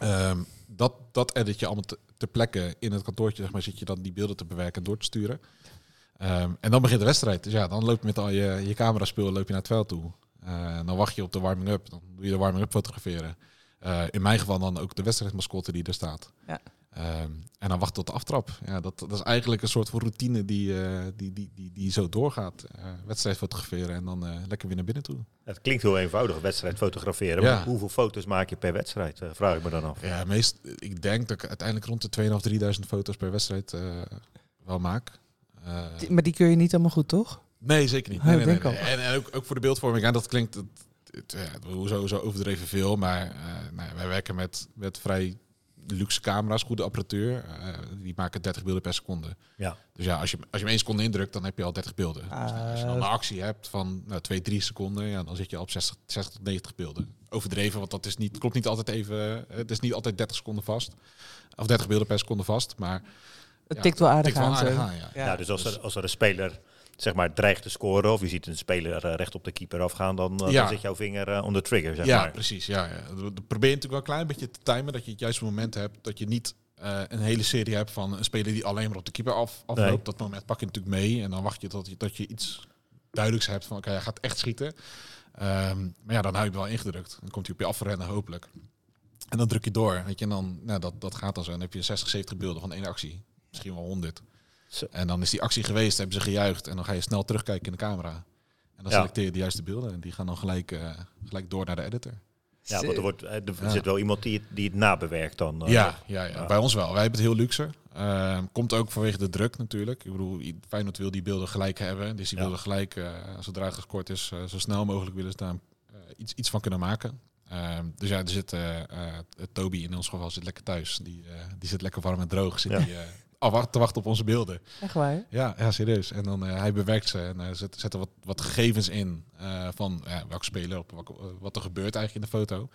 Speaker 7: Ehm, dat, dat edit je allemaal te, ter plekke in het kantoortje, zeg maar, zit je dan die beelden te bewerken en door te sturen. Ehm, en dan begint de wedstrijd. Dus ja, dan loop je met al je, je cameraspul loop je naar het veld toe. Eh, dan wacht je op de warming-up. Dan doe je de warming-up fotograferen. Eh, in mijn geval dan ook de wedstrijdmascotte die er staat.
Speaker 5: Ja.
Speaker 7: Ehm, en dan wacht tot de aftrap. Ja, dat, dat is eigenlijk een soort van routine die, eh, die, die, die, die zo doorgaat. Eh, wedstrijd fotograferen en dan eh, lekker weer naar binnen toe.
Speaker 6: Het klinkt heel eenvoudig, wedstrijd fotograferen.
Speaker 7: Ja.
Speaker 6: Maar hoeveel foto's maak je per wedstrijd? eh, vraag ik me dan af.
Speaker 7: Ja, meest, ik denk dat ik uiteindelijk rond de 2.500, 3.000 foto's per wedstrijd eh, wel maak. Eh,
Speaker 5: Die- Maar die kun je niet allemaal goed, toch?
Speaker 7: Nee, zeker niet.
Speaker 5: Oh,
Speaker 7: Nee,
Speaker 5: ik
Speaker 7: nee, nee,
Speaker 5: denk
Speaker 7: nee. En, en ook, ook voor de beeldvorming. En dat klinkt, het, het- ja, hoezo zo overdreven veel. Maar eh, nou ja, wij werken met, met vrij luxe camera's, goede apparatuur. Eh, die maken 30 beelden per seconde.
Speaker 6: Ja.
Speaker 7: Dus ja, als je, als je hem één seconde indrukt, dan heb je al 30 beelden.
Speaker 5: Ah,
Speaker 7: Dus nou, als je dan
Speaker 5: Eh,
Speaker 7: een actie hebt van nou, 2, 3 seconden, ja, dan zit je al op 60, 60 tot 90 beelden. Overdreven, want dat is niet, klopt niet altijd even. Het is niet altijd 30 seconden vast. Of 30 beelden per seconde vast. Maar
Speaker 5: Het
Speaker 7: Ja,
Speaker 5: tikt wel aardig
Speaker 7: tikt wel
Speaker 5: aan.
Speaker 7: aardig
Speaker 5: zo.
Speaker 7: aan, ja.
Speaker 5: Ja.
Speaker 6: Nou, dus als er, als er een speler zeg maar, dreigt te scoren of je ziet een speler eh, recht op de keeper afgaan, dan, eh,
Speaker 7: Ja.
Speaker 6: dan zit jouw vinger eh on the trigger. Zeg
Speaker 7: ja,
Speaker 6: maar.
Speaker 7: precies. Ja, ja. Dat- dat Probeer je natuurlijk wel een klein beetje te timen dat je het juiste moment hebt. Dat je niet eh, een hele serie hebt van een speler die alleen maar op de keeper af, afloopt.
Speaker 6: Nee.
Speaker 7: Dat moment pak je natuurlijk mee en dan wacht je tot je, dat je iets duidelijks hebt van oké, hij gaat echt schieten. Ehm, maar ja, dan hou je hem wel ingedrukt. Dan komt hij op je afrennen hopelijk. En dan druk je door. Weet je, en dan, nou, dat, dat gaat dan zo. En dan heb je 60, 70 beelden van één actie. Misschien wel 100.
Speaker 6: Zo.
Speaker 7: En dan is die actie geweest, hebben ze gejuicht. En dan ga je snel terugkijken in de camera. En dan
Speaker 6: Ja.
Speaker 7: selecteer je de juiste beelden. En die gaan dan gelijk, eh, gelijk door naar de editor.
Speaker 6: Ja, want er, wordt, eh, er
Speaker 7: Ja.
Speaker 6: zit wel iemand die, het- die het nabewerkt dan. eh.
Speaker 7: Ja, ja, ja, bij ons wel. Wij hebben het heel luxe. Ehm, komt ook vanwege de druk natuurlijk. Ik bedoel, i- Feyenoord wil die beelden gelijk hebben. Dus die
Speaker 6: Ja.
Speaker 7: willen gelijk, eh, zodra het gescoord is, eh, zo snel mogelijk willen ze daar eh, iets, iets van kunnen maken. Ehm, dus ja, er zit eh, eh, Toby in ons geval zit lekker thuis. Die, eh, die zit lekker warm en droog. Zit
Speaker 6: Ja.
Speaker 7: die, eh, al wacht, te wachten op onze beelden.
Speaker 5: Echt waar?
Speaker 7: Ja, ja serieus. En dan eh, hij bewerkt ze en eh, zet, zet er wat, wat gegevens in eh, van eh, welke speler, op, welke- eh, wat er gebeurt eigenlijk in de foto.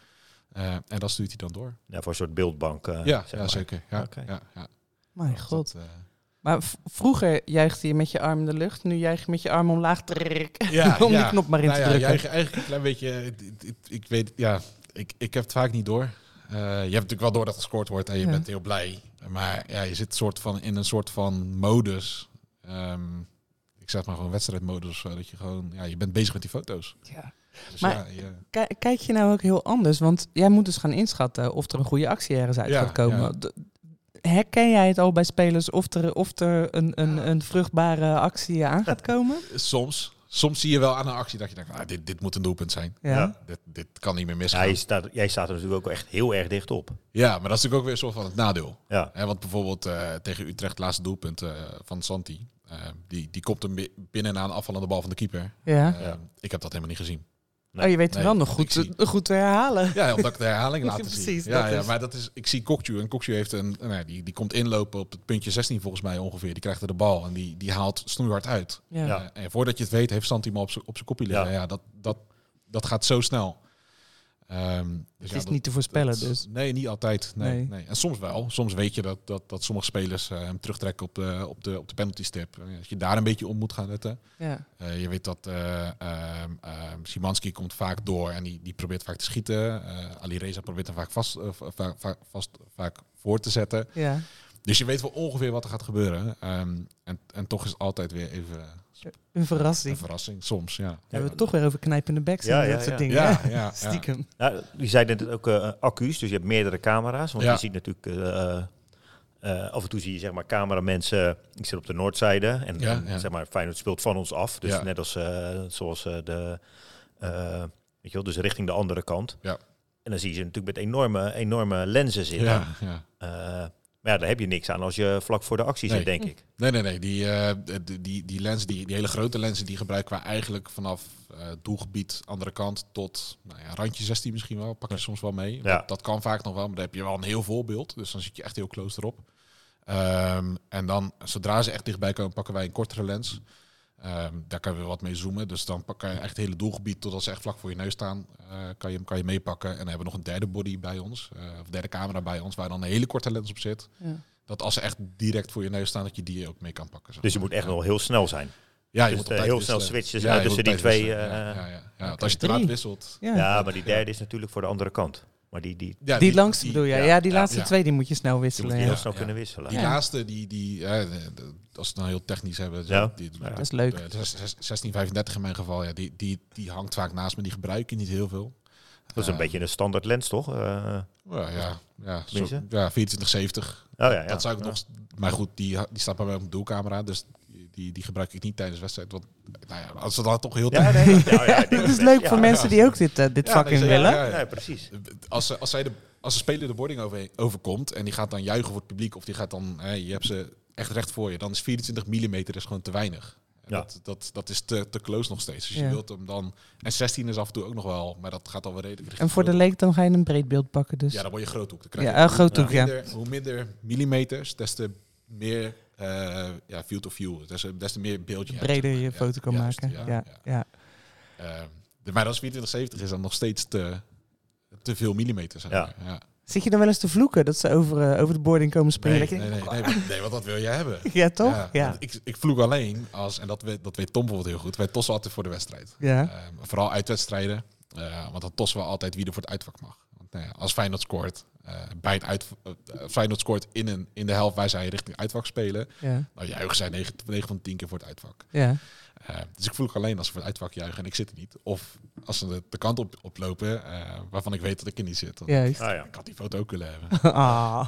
Speaker 7: Eh, en dat stuurt hij dan door.
Speaker 6: Ja, voor een soort beeldbank. eh,
Speaker 7: Ja,
Speaker 6: zeg
Speaker 7: ja
Speaker 6: maar.
Speaker 7: zeker. Ja,
Speaker 6: Oké.
Speaker 7: ja, ja.
Speaker 5: Mijn
Speaker 7: Dat,
Speaker 5: god.
Speaker 7: eh,
Speaker 5: Maar v- vroeger juichte je met je arm in de lucht. Nu juich je met je arm omlaag. Trrrk.
Speaker 7: ja,
Speaker 5: Om
Speaker 7: ja.
Speaker 5: die knop maar in
Speaker 7: Nou
Speaker 5: te
Speaker 7: ja,
Speaker 5: drukken.
Speaker 7: jij- eigenlijk een klein beetje. eh, d- d- Ik, weet, ja, ik, ik heb het vaak niet door. Eh, je hebt natuurlijk wel door dat gescoord wordt en je
Speaker 5: Ja.
Speaker 7: bent heel blij. Maar ja, je zit soort van in een soort van modus. Ehm, ik zeg maar gewoon wedstrijdmodus of zo. Dat je gewoon, ja, je bent bezig met die foto's.
Speaker 5: Ja.
Speaker 7: Dus
Speaker 5: Maar-
Speaker 7: ja, je-
Speaker 5: Ki- Kijk je nou ook heel anders? Want jij moet dus gaan inschatten of er een goede actie ergens uit
Speaker 7: Ja,
Speaker 5: gaat komen.
Speaker 7: ja.
Speaker 5: D- Herken jij het al bij spelers of er, of er een, een, een vruchtbare actie aan gaat komen?
Speaker 7: soms, soms zie je wel aan een actie dat je denkt, ah, dit, dit moet een doelpunt zijn.
Speaker 5: Ja.
Speaker 6: Ja.
Speaker 7: Dit, dit kan niet meer misgaan.
Speaker 6: Hij staat, jij staat er natuurlijk ook echt heel erg dicht op.
Speaker 7: Ja, maar dat is natuurlijk ook weer een soort van het nadeel.
Speaker 6: Ja.
Speaker 7: Hè, want bijvoorbeeld eh, tegen Utrecht, het laatste doelpunt eh, van Santi. eh, die, die komt hem bi- binnen na een afvallende bal van de keeper.
Speaker 5: Ja.
Speaker 7: Eh,
Speaker 6: Ja.
Speaker 7: Ik heb dat helemaal niet gezien.
Speaker 5: Oh, je weet hem
Speaker 7: Nee,
Speaker 5: wel nog
Speaker 7: ik
Speaker 5: goed,
Speaker 7: zie-
Speaker 5: te- goed te herhalen.
Speaker 7: Ja, omdat ik de herhaling
Speaker 5: Ja,
Speaker 7: laten
Speaker 5: precies,
Speaker 7: zien. Ja,
Speaker 5: dat
Speaker 7: ja,
Speaker 5: is-
Speaker 7: maar dat is, ik zie Kokju en Kokju heeft een, nou, ja, die, die komt inlopen op het puntje 16 volgens mij ongeveer. Die krijgt er de bal en die, die haalt snoeihard uit.
Speaker 5: Ja.
Speaker 6: Ja.
Speaker 7: Eh, en voordat je het weet, heeft Santi hem al op zijn- op zijn kopje liggen. Ja,
Speaker 6: Ja.
Speaker 7: dat, dat, dat gaat zo snel. Ehm, dus
Speaker 5: het
Speaker 7: ja,
Speaker 5: is
Speaker 7: dat-
Speaker 5: niet te voorspellen
Speaker 7: Dat-
Speaker 5: dus.
Speaker 7: Nee, niet altijd. Nee,
Speaker 5: Nee.
Speaker 7: nee. En soms wel. Soms weet je dat, dat, dat sommige spelers eh, hem terugtrekken op de, op de, op de penalty stip. Als je daar een beetje om moet gaan letten.
Speaker 5: Ja.
Speaker 7: Eh, je weet dat eh, ehm, ehm, Szymanski komt vaak door en die, die probeert vaak te schieten. Eh Ali Reza probeert hem vaak, vast, eh, va- va- va- vast, vaak voor te zetten.
Speaker 5: Ja.
Speaker 7: Dus je weet wel ongeveer wat er gaat gebeuren. Ehm, en, en toch is het altijd weer even
Speaker 5: Een
Speaker 7: een
Speaker 5: verrassing.
Speaker 7: verrassing. Soms, ja.
Speaker 5: We hebben het toch weer over knijpende backs
Speaker 6: Ja,
Speaker 5: en dat
Speaker 6: ja,
Speaker 5: soort
Speaker 6: ja.
Speaker 5: dingen.
Speaker 7: Ja,
Speaker 5: hè?
Speaker 7: ja, ja.
Speaker 5: Stiekem.
Speaker 6: Ja, Nou, je zei net ook eh, accu's, dus je hebt meerdere camera's. Want
Speaker 7: Ja.
Speaker 6: je ziet natuurlijk... eh, eh, af en toe zie je zeg maar cameramensen, ik zit op de noordzijde en,
Speaker 7: Ja,
Speaker 6: en,
Speaker 7: ja.
Speaker 6: zeg maar Feyenoord speelt van ons af. Dus
Speaker 7: Ja.
Speaker 6: net als eh, zoals eh, de, eh, weet je wel, dus richting de andere kant.
Speaker 7: Ja.
Speaker 6: En dan zie je ze natuurlijk met enorme, enorme lenzen zitten.
Speaker 7: ja, ja.
Speaker 6: Eh, maar ja, daar heb je niks aan als je vlak voor de actie
Speaker 7: Nee.
Speaker 6: zit, denk ik.
Speaker 7: Nee, nee, nee. Die, eh, die, die, die lenzen, die, die hele grote lenzen, die gebruiken we eigenlijk vanaf eh, doelgebied andere kant tot nou ja, randje 16 misschien wel. Pak je soms wel mee.
Speaker 6: Ja.
Speaker 7: Dat, dat kan vaak nog wel, maar dan heb je wel een heel vol beeld. Dus dan zit je echt heel close erop. Ehm, en dan, zodra ze echt dichtbij komen, pakken wij een kortere lens. Ehm, daar kan je weer wat mee zoomen. Dus dan pak je echt het hele doelgebied totdat ze echt vlak voor je neus staan. eh, kan, je, kan je meepakken. En dan hebben we nog een derde body bij ons. eh, of derde camera bij ons, waar dan een hele korte lens op zit.
Speaker 5: Ja.
Speaker 7: Dat als ze echt direct voor je neus staan, dat je die ook mee kan pakken. zeg
Speaker 6: Dus je
Speaker 7: maar.
Speaker 6: moet echt
Speaker 7: Hm. Ja.
Speaker 6: nog heel snel zijn.
Speaker 7: ja,
Speaker 6: dus,
Speaker 7: Ah, je moet op
Speaker 6: eh,
Speaker 7: tijd
Speaker 6: heel snel
Speaker 7: wisselen.
Speaker 6: switchen eh,
Speaker 7: je
Speaker 6: tussen
Speaker 7: moet op
Speaker 6: die
Speaker 7: tijd
Speaker 6: twee,
Speaker 7: wisselen. Ja,
Speaker 6: eh,
Speaker 7: ja, ja. Ja, want als je te
Speaker 5: Drie.
Speaker 7: laat wisselt...
Speaker 5: Ja.
Speaker 6: Ja, maar die derde is natuurlijk voor de andere kant. Maar die, die,
Speaker 7: Ja,
Speaker 5: die, langste bedoel je? Ja,
Speaker 6: ja,
Speaker 5: die
Speaker 6: ja,
Speaker 5: laatste
Speaker 7: ja.
Speaker 5: twee die moet je snel
Speaker 6: Je moet
Speaker 5: wisselen.
Speaker 6: die
Speaker 5: Ja.
Speaker 6: heel
Speaker 7: Ja,
Speaker 6: snel
Speaker 7: ja.
Speaker 6: kunnen wisselen.
Speaker 7: Die
Speaker 5: Ja.
Speaker 7: laatste, die, die, eh, de- de- als we het nou heel technisch hebben,
Speaker 6: Ja.
Speaker 7: die, eh, die-
Speaker 6: Ja.
Speaker 5: Dat is leuk.
Speaker 7: de 1635 in mijn geval, ja, die, die, die hangt vaak naast me. Die gebruik je niet heel veel.
Speaker 6: Dat is een
Speaker 7: Eh,
Speaker 6: beetje een standaard lens, toch? Eh,
Speaker 7: Ja, ja, ja, zo-
Speaker 6: Tenminste.
Speaker 7: ja 2470.
Speaker 6: oh ja, ja.
Speaker 7: Dat zou ik
Speaker 6: Ja.
Speaker 7: nog... Maar goed, die, die staat bij mij op een doelcamera, dus die, die gebruik ik niet tijdens wedstrijd. Want nou ja, als we dan toch heel
Speaker 6: Ja, nee, dat- nou ja, dit
Speaker 5: Het is leuk
Speaker 6: ja,
Speaker 5: voor
Speaker 6: ja.
Speaker 5: mensen die ook dit, eh, dit
Speaker 7: Ja,
Speaker 5: vak
Speaker 7: nee,
Speaker 5: in
Speaker 7: zeker.
Speaker 5: willen.
Speaker 7: Ja, ja.
Speaker 6: Nee, precies.
Speaker 7: Als, ze- als, zij de, als de speler de boarding over, overkomt en die gaat dan juichen voor het publiek of die gaat dan, hè, je hebt ze echt recht voor je, dan is 24 mm is gewoon te weinig. En
Speaker 6: Ja.
Speaker 7: Dat, dat, dat is te, te close nog steeds. Dus
Speaker 5: Ja.
Speaker 7: je wilt hem dan... En 16 is af en toe ook nog wel, maar dat gaat al wel redelijk richting
Speaker 5: En voor de
Speaker 7: grote-
Speaker 5: leek dan ga je een breedbeeld pakken dus.
Speaker 7: Ja, dan word je groothoek. Dan krijg je
Speaker 5: Ja, een groot
Speaker 7: hoe,
Speaker 5: hoek, ja.
Speaker 7: minder, hoe minder millimeters, des te meer eh, ja, field of view. Des, des te meer beeldje. je hebt,
Speaker 5: Breder
Speaker 7: zeg
Speaker 5: je
Speaker 7: maar. Ja,
Speaker 5: foto kan
Speaker 7: juist,
Speaker 5: maken. Ja, ja.
Speaker 7: Eh, de- maar dat is 2470 is dan nog steeds te, te veel millimeters. eigenlijk. ja.
Speaker 5: Zit je dan wel eens te vloeken dat ze over, eh, over de boarding komen springen?
Speaker 7: Nee,
Speaker 5: Dat je
Speaker 7: nee, nee, nee, want- nee, want dat wil jij hebben.
Speaker 5: denkt, Ja, toch? Ja. ja.
Speaker 7: want Ik, ik vloek alleen als, en dat weet, dat weet Tom bijvoorbeeld heel goed, wij tossen altijd voor de wedstrijd. Eh, vooral uitwedstrijden, eh, want dan tossen we altijd wie er voor het uitvak mag. Want, nou ja, als Feyenoord scoort, eh, bij het uit, eh, Feyenoord scoort in, een, in de helft waar zij richting uitvak spelen,
Speaker 5: Ja.
Speaker 7: nou juichen zij 9, van 10 keer voor het uitvak.
Speaker 5: ja.
Speaker 7: Eh, dus ik vloek alleen als ze voor het uitvak juichen en ik zit er niet. Of als ze de, de kant op, oplopen eh, waarvan ik weet dat ik er niet zit. Dan-
Speaker 5: Juist.
Speaker 6: Ah, ja.
Speaker 7: Ik had die foto ook kunnen hebben.
Speaker 5: Ah.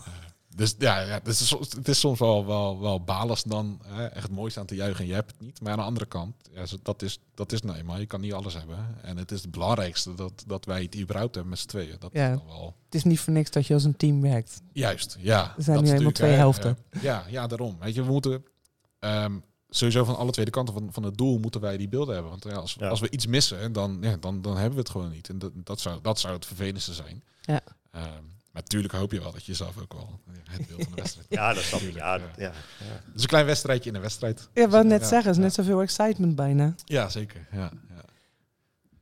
Speaker 7: Dus ja, ja het, is, soms- het is soms wel, wel, wel balens dan hè, echt het mooiste aan te juichen en je hebt het niet. Maar aan de andere kant, ja, zo- dat, is, dat is nou eenmaal, je kan niet alles hebben. En het is het belangrijkste dat, dat wij het überhaupt hebben met z'n tweeën. Dat
Speaker 5: Ja.
Speaker 7: is dan wel...
Speaker 5: Het is niet voor niks dat je als een team werkt.
Speaker 7: Juist, ja.
Speaker 5: Er zijn nu
Speaker 7: dat is
Speaker 5: eenmaal
Speaker 7: natuurlijk,
Speaker 5: twee
Speaker 7: hè,
Speaker 5: helften.
Speaker 7: eh, ja, ja, daarom. Weet je, we moeten ehm, sowieso van alle twee kanten van, van het doel moeten wij die beelden hebben. Want ja, als,
Speaker 6: Ja.
Speaker 7: als we iets missen, dan, ja, dan, dan hebben we het gewoon niet. En dat, dat, zou, dat zou het vervelendste zijn.
Speaker 5: Ja.
Speaker 7: Ehm, maar natuurlijk hoop je wel dat je zelf ook wel het beeld van de wedstrijd
Speaker 6: Ja, dat snap ik. Ja,
Speaker 7: Tuurlijk,
Speaker 6: dat- ja.
Speaker 7: Het is een klein wedstrijdje in een wedstrijd.
Speaker 5: Ja, wat net
Speaker 7: Ja,
Speaker 5: zeggen, is
Speaker 7: ja.
Speaker 5: net zoveel excitement bijna.
Speaker 7: Ja, zeker. Ja,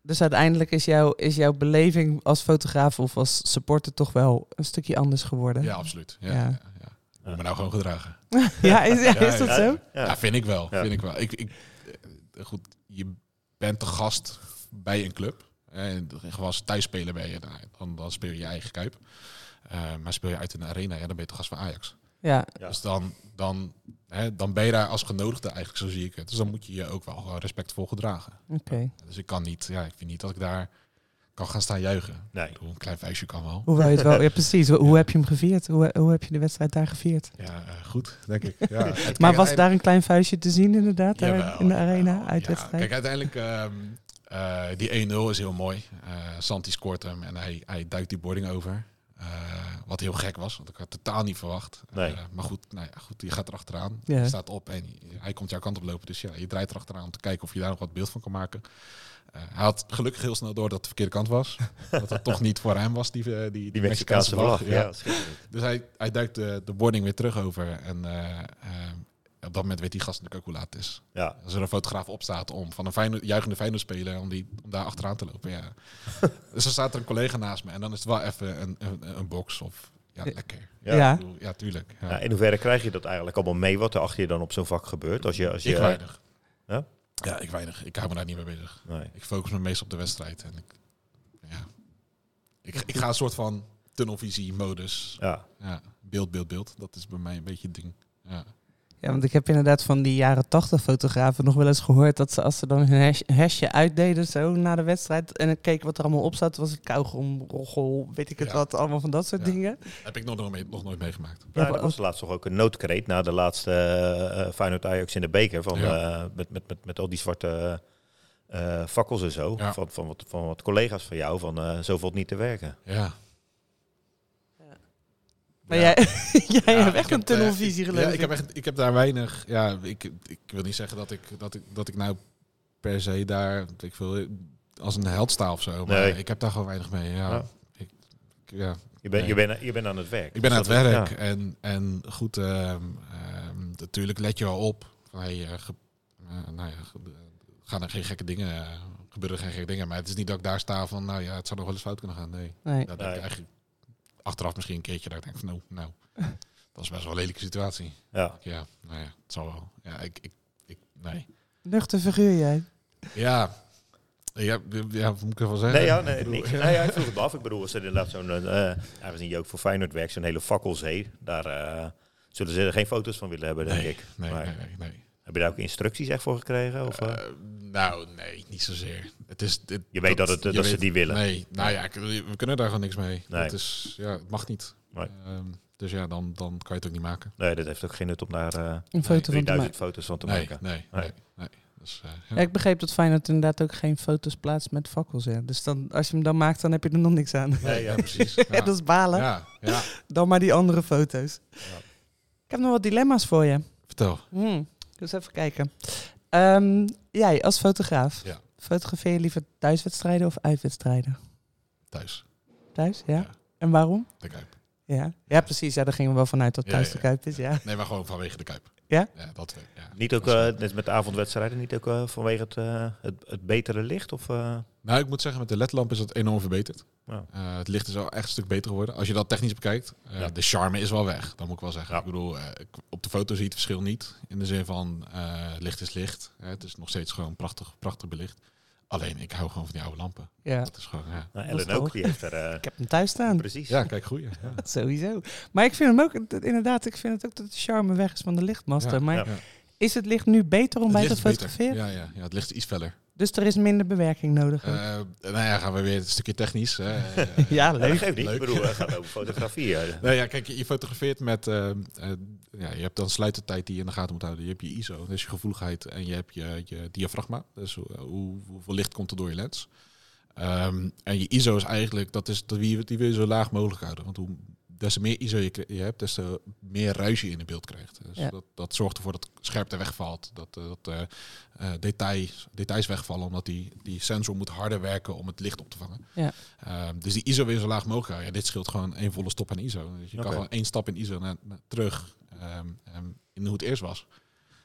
Speaker 5: Dus uiteindelijk is, jouw is jouw beleving als fotograaf of als supporter toch wel een stukje anders geworden.
Speaker 7: absoluut. Ja,
Speaker 5: Ja.
Speaker 7: ja. Ja, Moet me nou gewoon gedragen.
Speaker 5: Ja, is, ja,
Speaker 7: Ja,
Speaker 5: is dat
Speaker 6: ja.
Speaker 5: zo?
Speaker 7: Ja,
Speaker 6: Ja.
Speaker 7: vind ik wel.
Speaker 6: Ja.
Speaker 7: Vind ik wel. Ik, ik, eh, goed, je bent de gast bij een club. En gewoon thuis spelen ben je, nou, dan, dan speel je je eigen kuip. Eh, maar speel je uit in de arena, ja, dan ben je de gast van Ajax.
Speaker 5: Ja,
Speaker 6: Ja.
Speaker 7: Dus dan, dan, hè, dan ben je daar als genodigde eigenlijk, zo zie ik het. Dus dan moet je je ook wel gewoon respectvol gedragen.
Speaker 5: oké.
Speaker 7: Dus ik kan niet, ja, ik vind niet dat ik daar kan gaan staan juichen.
Speaker 6: Nee.
Speaker 7: Ik bedoel, een klein vuistje kan wel.
Speaker 5: Hoe wou je het wel? Ja, precies. Hoe, hoe heb je hem gevierd? Hoe, hoe heb je de wedstrijd daar gevierd?
Speaker 7: Ja, eh, goed, denk ik. Ja. Kijk,
Speaker 5: Maar was
Speaker 7: uiteindelijk-
Speaker 5: daar een klein vuistje te zien inderdaad, daar
Speaker 7: Jawel,
Speaker 5: in de
Speaker 7: jawel,
Speaker 5: arena,
Speaker 7: ja.
Speaker 5: uitwedstrijd?
Speaker 7: Kijk, uiteindelijk, ehm, eh, die 1-0 is heel mooi. Eh Santi scoort hem en hij, hij duikt die boarding over. Eh, wat heel gek was, want ik had totaal niet verwacht.
Speaker 6: Nee.
Speaker 7: Eh, maar goed, nou ja, goed, je gaat erachteraan.
Speaker 5: Ja.
Speaker 7: Je staat op en hij komt jouw kant op lopen. Dus ja, je draait erachteraan om te kijken of je daar nog wat beeld van kan maken. Eh, hij had gelukkig heel snel door dat het de verkeerde kant was. dat het toch niet voor hem was, die, eh, die, die,
Speaker 6: Die Mexicaanse vlag. Ja, schitterend.
Speaker 7: dus hij, hij duikt de, de boarding weer terug over. En eh, eh, op dat moment weet die gast natuurlijk ook hoe laat het is.
Speaker 6: ja.
Speaker 7: Als er een fotograaf opstaat om van een Feyenoord, juichende Feyenoordspeler om, die, om daar achteraan te lopen. Ja. dus dan staat er een collega naast me en dan is het wel even een, een, een box of ja, lekker.
Speaker 6: Ja.
Speaker 5: Ja.
Speaker 7: Ik bedoel, ja tuurlijk. Ja.
Speaker 6: Ja, in hoeverre krijg je dat eigenlijk allemaal mee wat er achter je dan op zo'n vak gebeurt? Als je, als je,
Speaker 7: ik weinig.
Speaker 6: eh, Ja?
Speaker 7: Ja, ik weinig. Ik hou me daar niet mee bezig.
Speaker 6: Nee.
Speaker 7: Ik focus me meest op de wedstrijd. En ik, ja. ik, ik ga een soort van tunnelvisie modus.
Speaker 6: Ja,
Speaker 7: Ja. Beeld, beeld, beeld. Dat is bij mij een beetje het ding. Ja.
Speaker 5: Ja, want ik heb inderdaad van die jaren tachtig fotografen nog wel eens gehoord dat ze als ze dan hun hash, hashje uitdeden zo na de wedstrijd en ik keek wat er allemaal op zat, was het kauwgom, roggel, weet ik het
Speaker 7: Ja.
Speaker 5: wat, allemaal van dat soort
Speaker 7: Ja.
Speaker 5: dingen.
Speaker 7: Heb ik nog, nog, mee- nog nooit meegemaakt.
Speaker 5: Ja,
Speaker 6: Ja,
Speaker 5: maar
Speaker 6: dat was laatst toch ook een noodkreet na de laatste eh, eh, Feyenoord Ajax in de beker. Van,
Speaker 7: Ja.
Speaker 6: eh, met, met, met, met al die zwarte eh, fakkels en zo.
Speaker 7: Ja.
Speaker 6: Van, van, wat, van wat collega's van jou. Van eh zo valt niet te werken.
Speaker 7: Ja.
Speaker 5: Maar
Speaker 7: Ja.
Speaker 5: jij, jij
Speaker 7: Ja,
Speaker 5: hebt
Speaker 7: ik
Speaker 5: echt een
Speaker 7: heb, eh,
Speaker 5: tunnelvisie
Speaker 7: ik-
Speaker 5: geloof
Speaker 7: Ja,
Speaker 5: ik.
Speaker 7: ik heb, echt, ik heb daar weinig... Ja, ik, ik wil niet zeggen dat ik, dat ik, dat ik nou per se daar... weet Ik wil, als een held sta of zo. Maar
Speaker 6: Nee.
Speaker 7: ik heb daar gewoon weinig mee. Ja.
Speaker 6: Ja.
Speaker 7: Ik, ik- ja.
Speaker 6: Je bent
Speaker 7: Nee.
Speaker 6: je bent je bent aan het werk.
Speaker 7: ik ben aan het
Speaker 6: Dus dat-
Speaker 7: werk.
Speaker 6: ja.
Speaker 7: En, en goed, ehm, ehm, natuurlijk let je wel op. Van, hey, eh, ge- eh, nou ja, ge- eh, gaan er geen gekke dingen... eh, gebeuren geen gekke dingen. Maar het is niet dat ik daar sta van... Nou ja, het zou nog wel eens fout kunnen gaan. Nee.
Speaker 5: Nee.
Speaker 7: Dat denk ik
Speaker 6: Nee.
Speaker 7: eigenlijk achteraf misschien een keertje dat ik denk van nou, nou, dat is best wel een lelijke situatie.
Speaker 6: Ja.
Speaker 7: Ja, nou ja, het zal wel. Ja, ik, ik, ik nee.
Speaker 5: Nuchter figuur jij.
Speaker 7: Ja, ja, ja, wat moet ik ervan zeggen?
Speaker 6: Nee, ja, nee,
Speaker 7: Ik bedoel,
Speaker 6: niks. nee ja, ik vroeg het me af. Ik bedoel, als er inderdaad zo'n... eh aangezien je ook voor Feyenoord werkt, zo'n hele fakkelzee. Daar eh, zullen ze er geen foto's van willen hebben, denk
Speaker 7: Nee,
Speaker 6: ik.
Speaker 7: nee,
Speaker 6: Maar
Speaker 7: nee, nee. nee.
Speaker 6: Heb je daar ook instructies echt voor gekregen? Of, eh?
Speaker 7: Eh, nou, nee, niet zozeer. Het is, dit-
Speaker 6: Je weet dat het-
Speaker 7: je
Speaker 6: dat ze
Speaker 7: weet-
Speaker 6: die willen.
Speaker 7: Nee, nou ja, ik- we kunnen daar gewoon niks mee.
Speaker 6: Nee.
Speaker 7: Dat is, ja, het mag niet.
Speaker 6: Nee.
Speaker 7: Ehm, dus ja, dan, dan kan je het ook niet maken.
Speaker 6: Nee, dat heeft ook geen nut om daar eh,
Speaker 5: Een foto van te
Speaker 6: 3000
Speaker 5: maken.
Speaker 6: foto's van te
Speaker 7: nee,
Speaker 6: maken.
Speaker 7: nee, nee,
Speaker 6: Nee.
Speaker 7: nee. Dus, eh, ja.
Speaker 5: Ja, ik begreep dat Feyenoord inderdaad ook geen foto's plaatst met fakkels. Hè. Dus dan, als je hem dan maakt, dan heb je er nog niks aan.
Speaker 7: Nee, ja, precies.
Speaker 5: Ja. dat is balen.
Speaker 7: ja, ja,
Speaker 5: Dan maar die andere foto's. Ik heb nog wat dilemma's voor je.
Speaker 7: vertel.
Speaker 5: Hmm. Dus even kijken. Ehm, jij als fotograaf.
Speaker 7: Ja.
Speaker 5: Fotografeer je liever thuiswedstrijden of uitwedstrijden?
Speaker 7: Thuis.
Speaker 5: Thuis, ja.
Speaker 7: Ja.
Speaker 5: En waarom?
Speaker 7: De Kuip.
Speaker 5: Ja, ja precies. Ja, daar gingen we wel vanuit dat
Speaker 7: Ja,
Speaker 5: thuis
Speaker 7: ja,
Speaker 5: de Kuip is, ja.
Speaker 7: Nee, maar gewoon vanwege de Kuip.
Speaker 5: Ja?
Speaker 7: Ja, dat weet ja.
Speaker 6: Niet ook, eh, net met de avondwedstrijden, niet ook eh, vanwege het, eh, het, het betere licht? Of, eh,
Speaker 7: Nou, ik moet zeggen, met de ledlamp is dat enorm verbeterd.
Speaker 6: Ja.
Speaker 7: Eh, het licht is wel echt een stuk beter geworden. Als je dat technisch bekijkt, eh,
Speaker 6: Ja.
Speaker 7: de charme is wel weg. Dat moet ik wel zeggen.
Speaker 6: Ja.
Speaker 7: Ik bedoel, eh, ik- op de foto zie je het verschil niet. In de zin van, eh, licht is licht. Eh, het is nog steeds gewoon prachtig, prachtig belicht. Alleen, ik hou gewoon van die oude lampen.
Speaker 5: ja.
Speaker 7: Dat is gewoon, ja.
Speaker 6: nou,
Speaker 5: Dat is
Speaker 6: Ellen ook,
Speaker 5: toch-
Speaker 6: die heeft er... eh,
Speaker 5: Ik heb hem thuis staan.
Speaker 6: precies.
Speaker 7: Ja, kijk, groeien. Ja.
Speaker 5: Sowieso. Maar ik vind hem ook, dat- inderdaad, ik vind het ook dat de charme weg is van de lichtmaster.
Speaker 7: Ja,
Speaker 5: maar
Speaker 6: ja.
Speaker 5: is het licht nu beter om
Speaker 7: Het
Speaker 5: bij
Speaker 7: licht
Speaker 5: te
Speaker 7: is beter.
Speaker 5: fotograferen?
Speaker 7: Ja, ja, ja, het licht is iets feller.
Speaker 5: Dus er is minder bewerking nodig.
Speaker 7: Eh, nou ja, gaan we weer een stukje technisch. hè. Eh,
Speaker 5: ja,
Speaker 6: Ja, dat
Speaker 5: leuk.
Speaker 6: geeft niet.
Speaker 7: Leuk.
Speaker 6: Ik bedoel, het gaat over fotografie. eh. ja.
Speaker 7: Nou ja, kijk, je fotografeert met... eh, eh, ja, je hebt dan sluitertijd die je in de gaten moet houden. Je hebt je ISO, dus je gevoeligheid. En je hebt je, je diafragma, dus hoe, hoe- hoeveel licht komt er door je lens. Ehm, en je ISO is eigenlijk... Dat is, dat, die, die wil je zo laag mogelijk houden. Want hoe, des te meer ISO je, k- je hebt, des te meer ruis je in het beeld krijgt. Dus
Speaker 5: Ja.
Speaker 7: dat, dat zorgt ervoor dat scherpte wegvalt. Dat, eh, dat eh, eh, details, details wegvallen, omdat die, die sensor moet harder werken om het licht op te vangen. Ehm, dus die ISO weer zo laag mogelijk houden. Ja, dit scheelt gewoon één volle stop aan ISO. Dus je
Speaker 6: Oké.
Speaker 7: kan gewoon één stap in ISO naar, naar- terug ehm, ehm, in hoe het eerst was.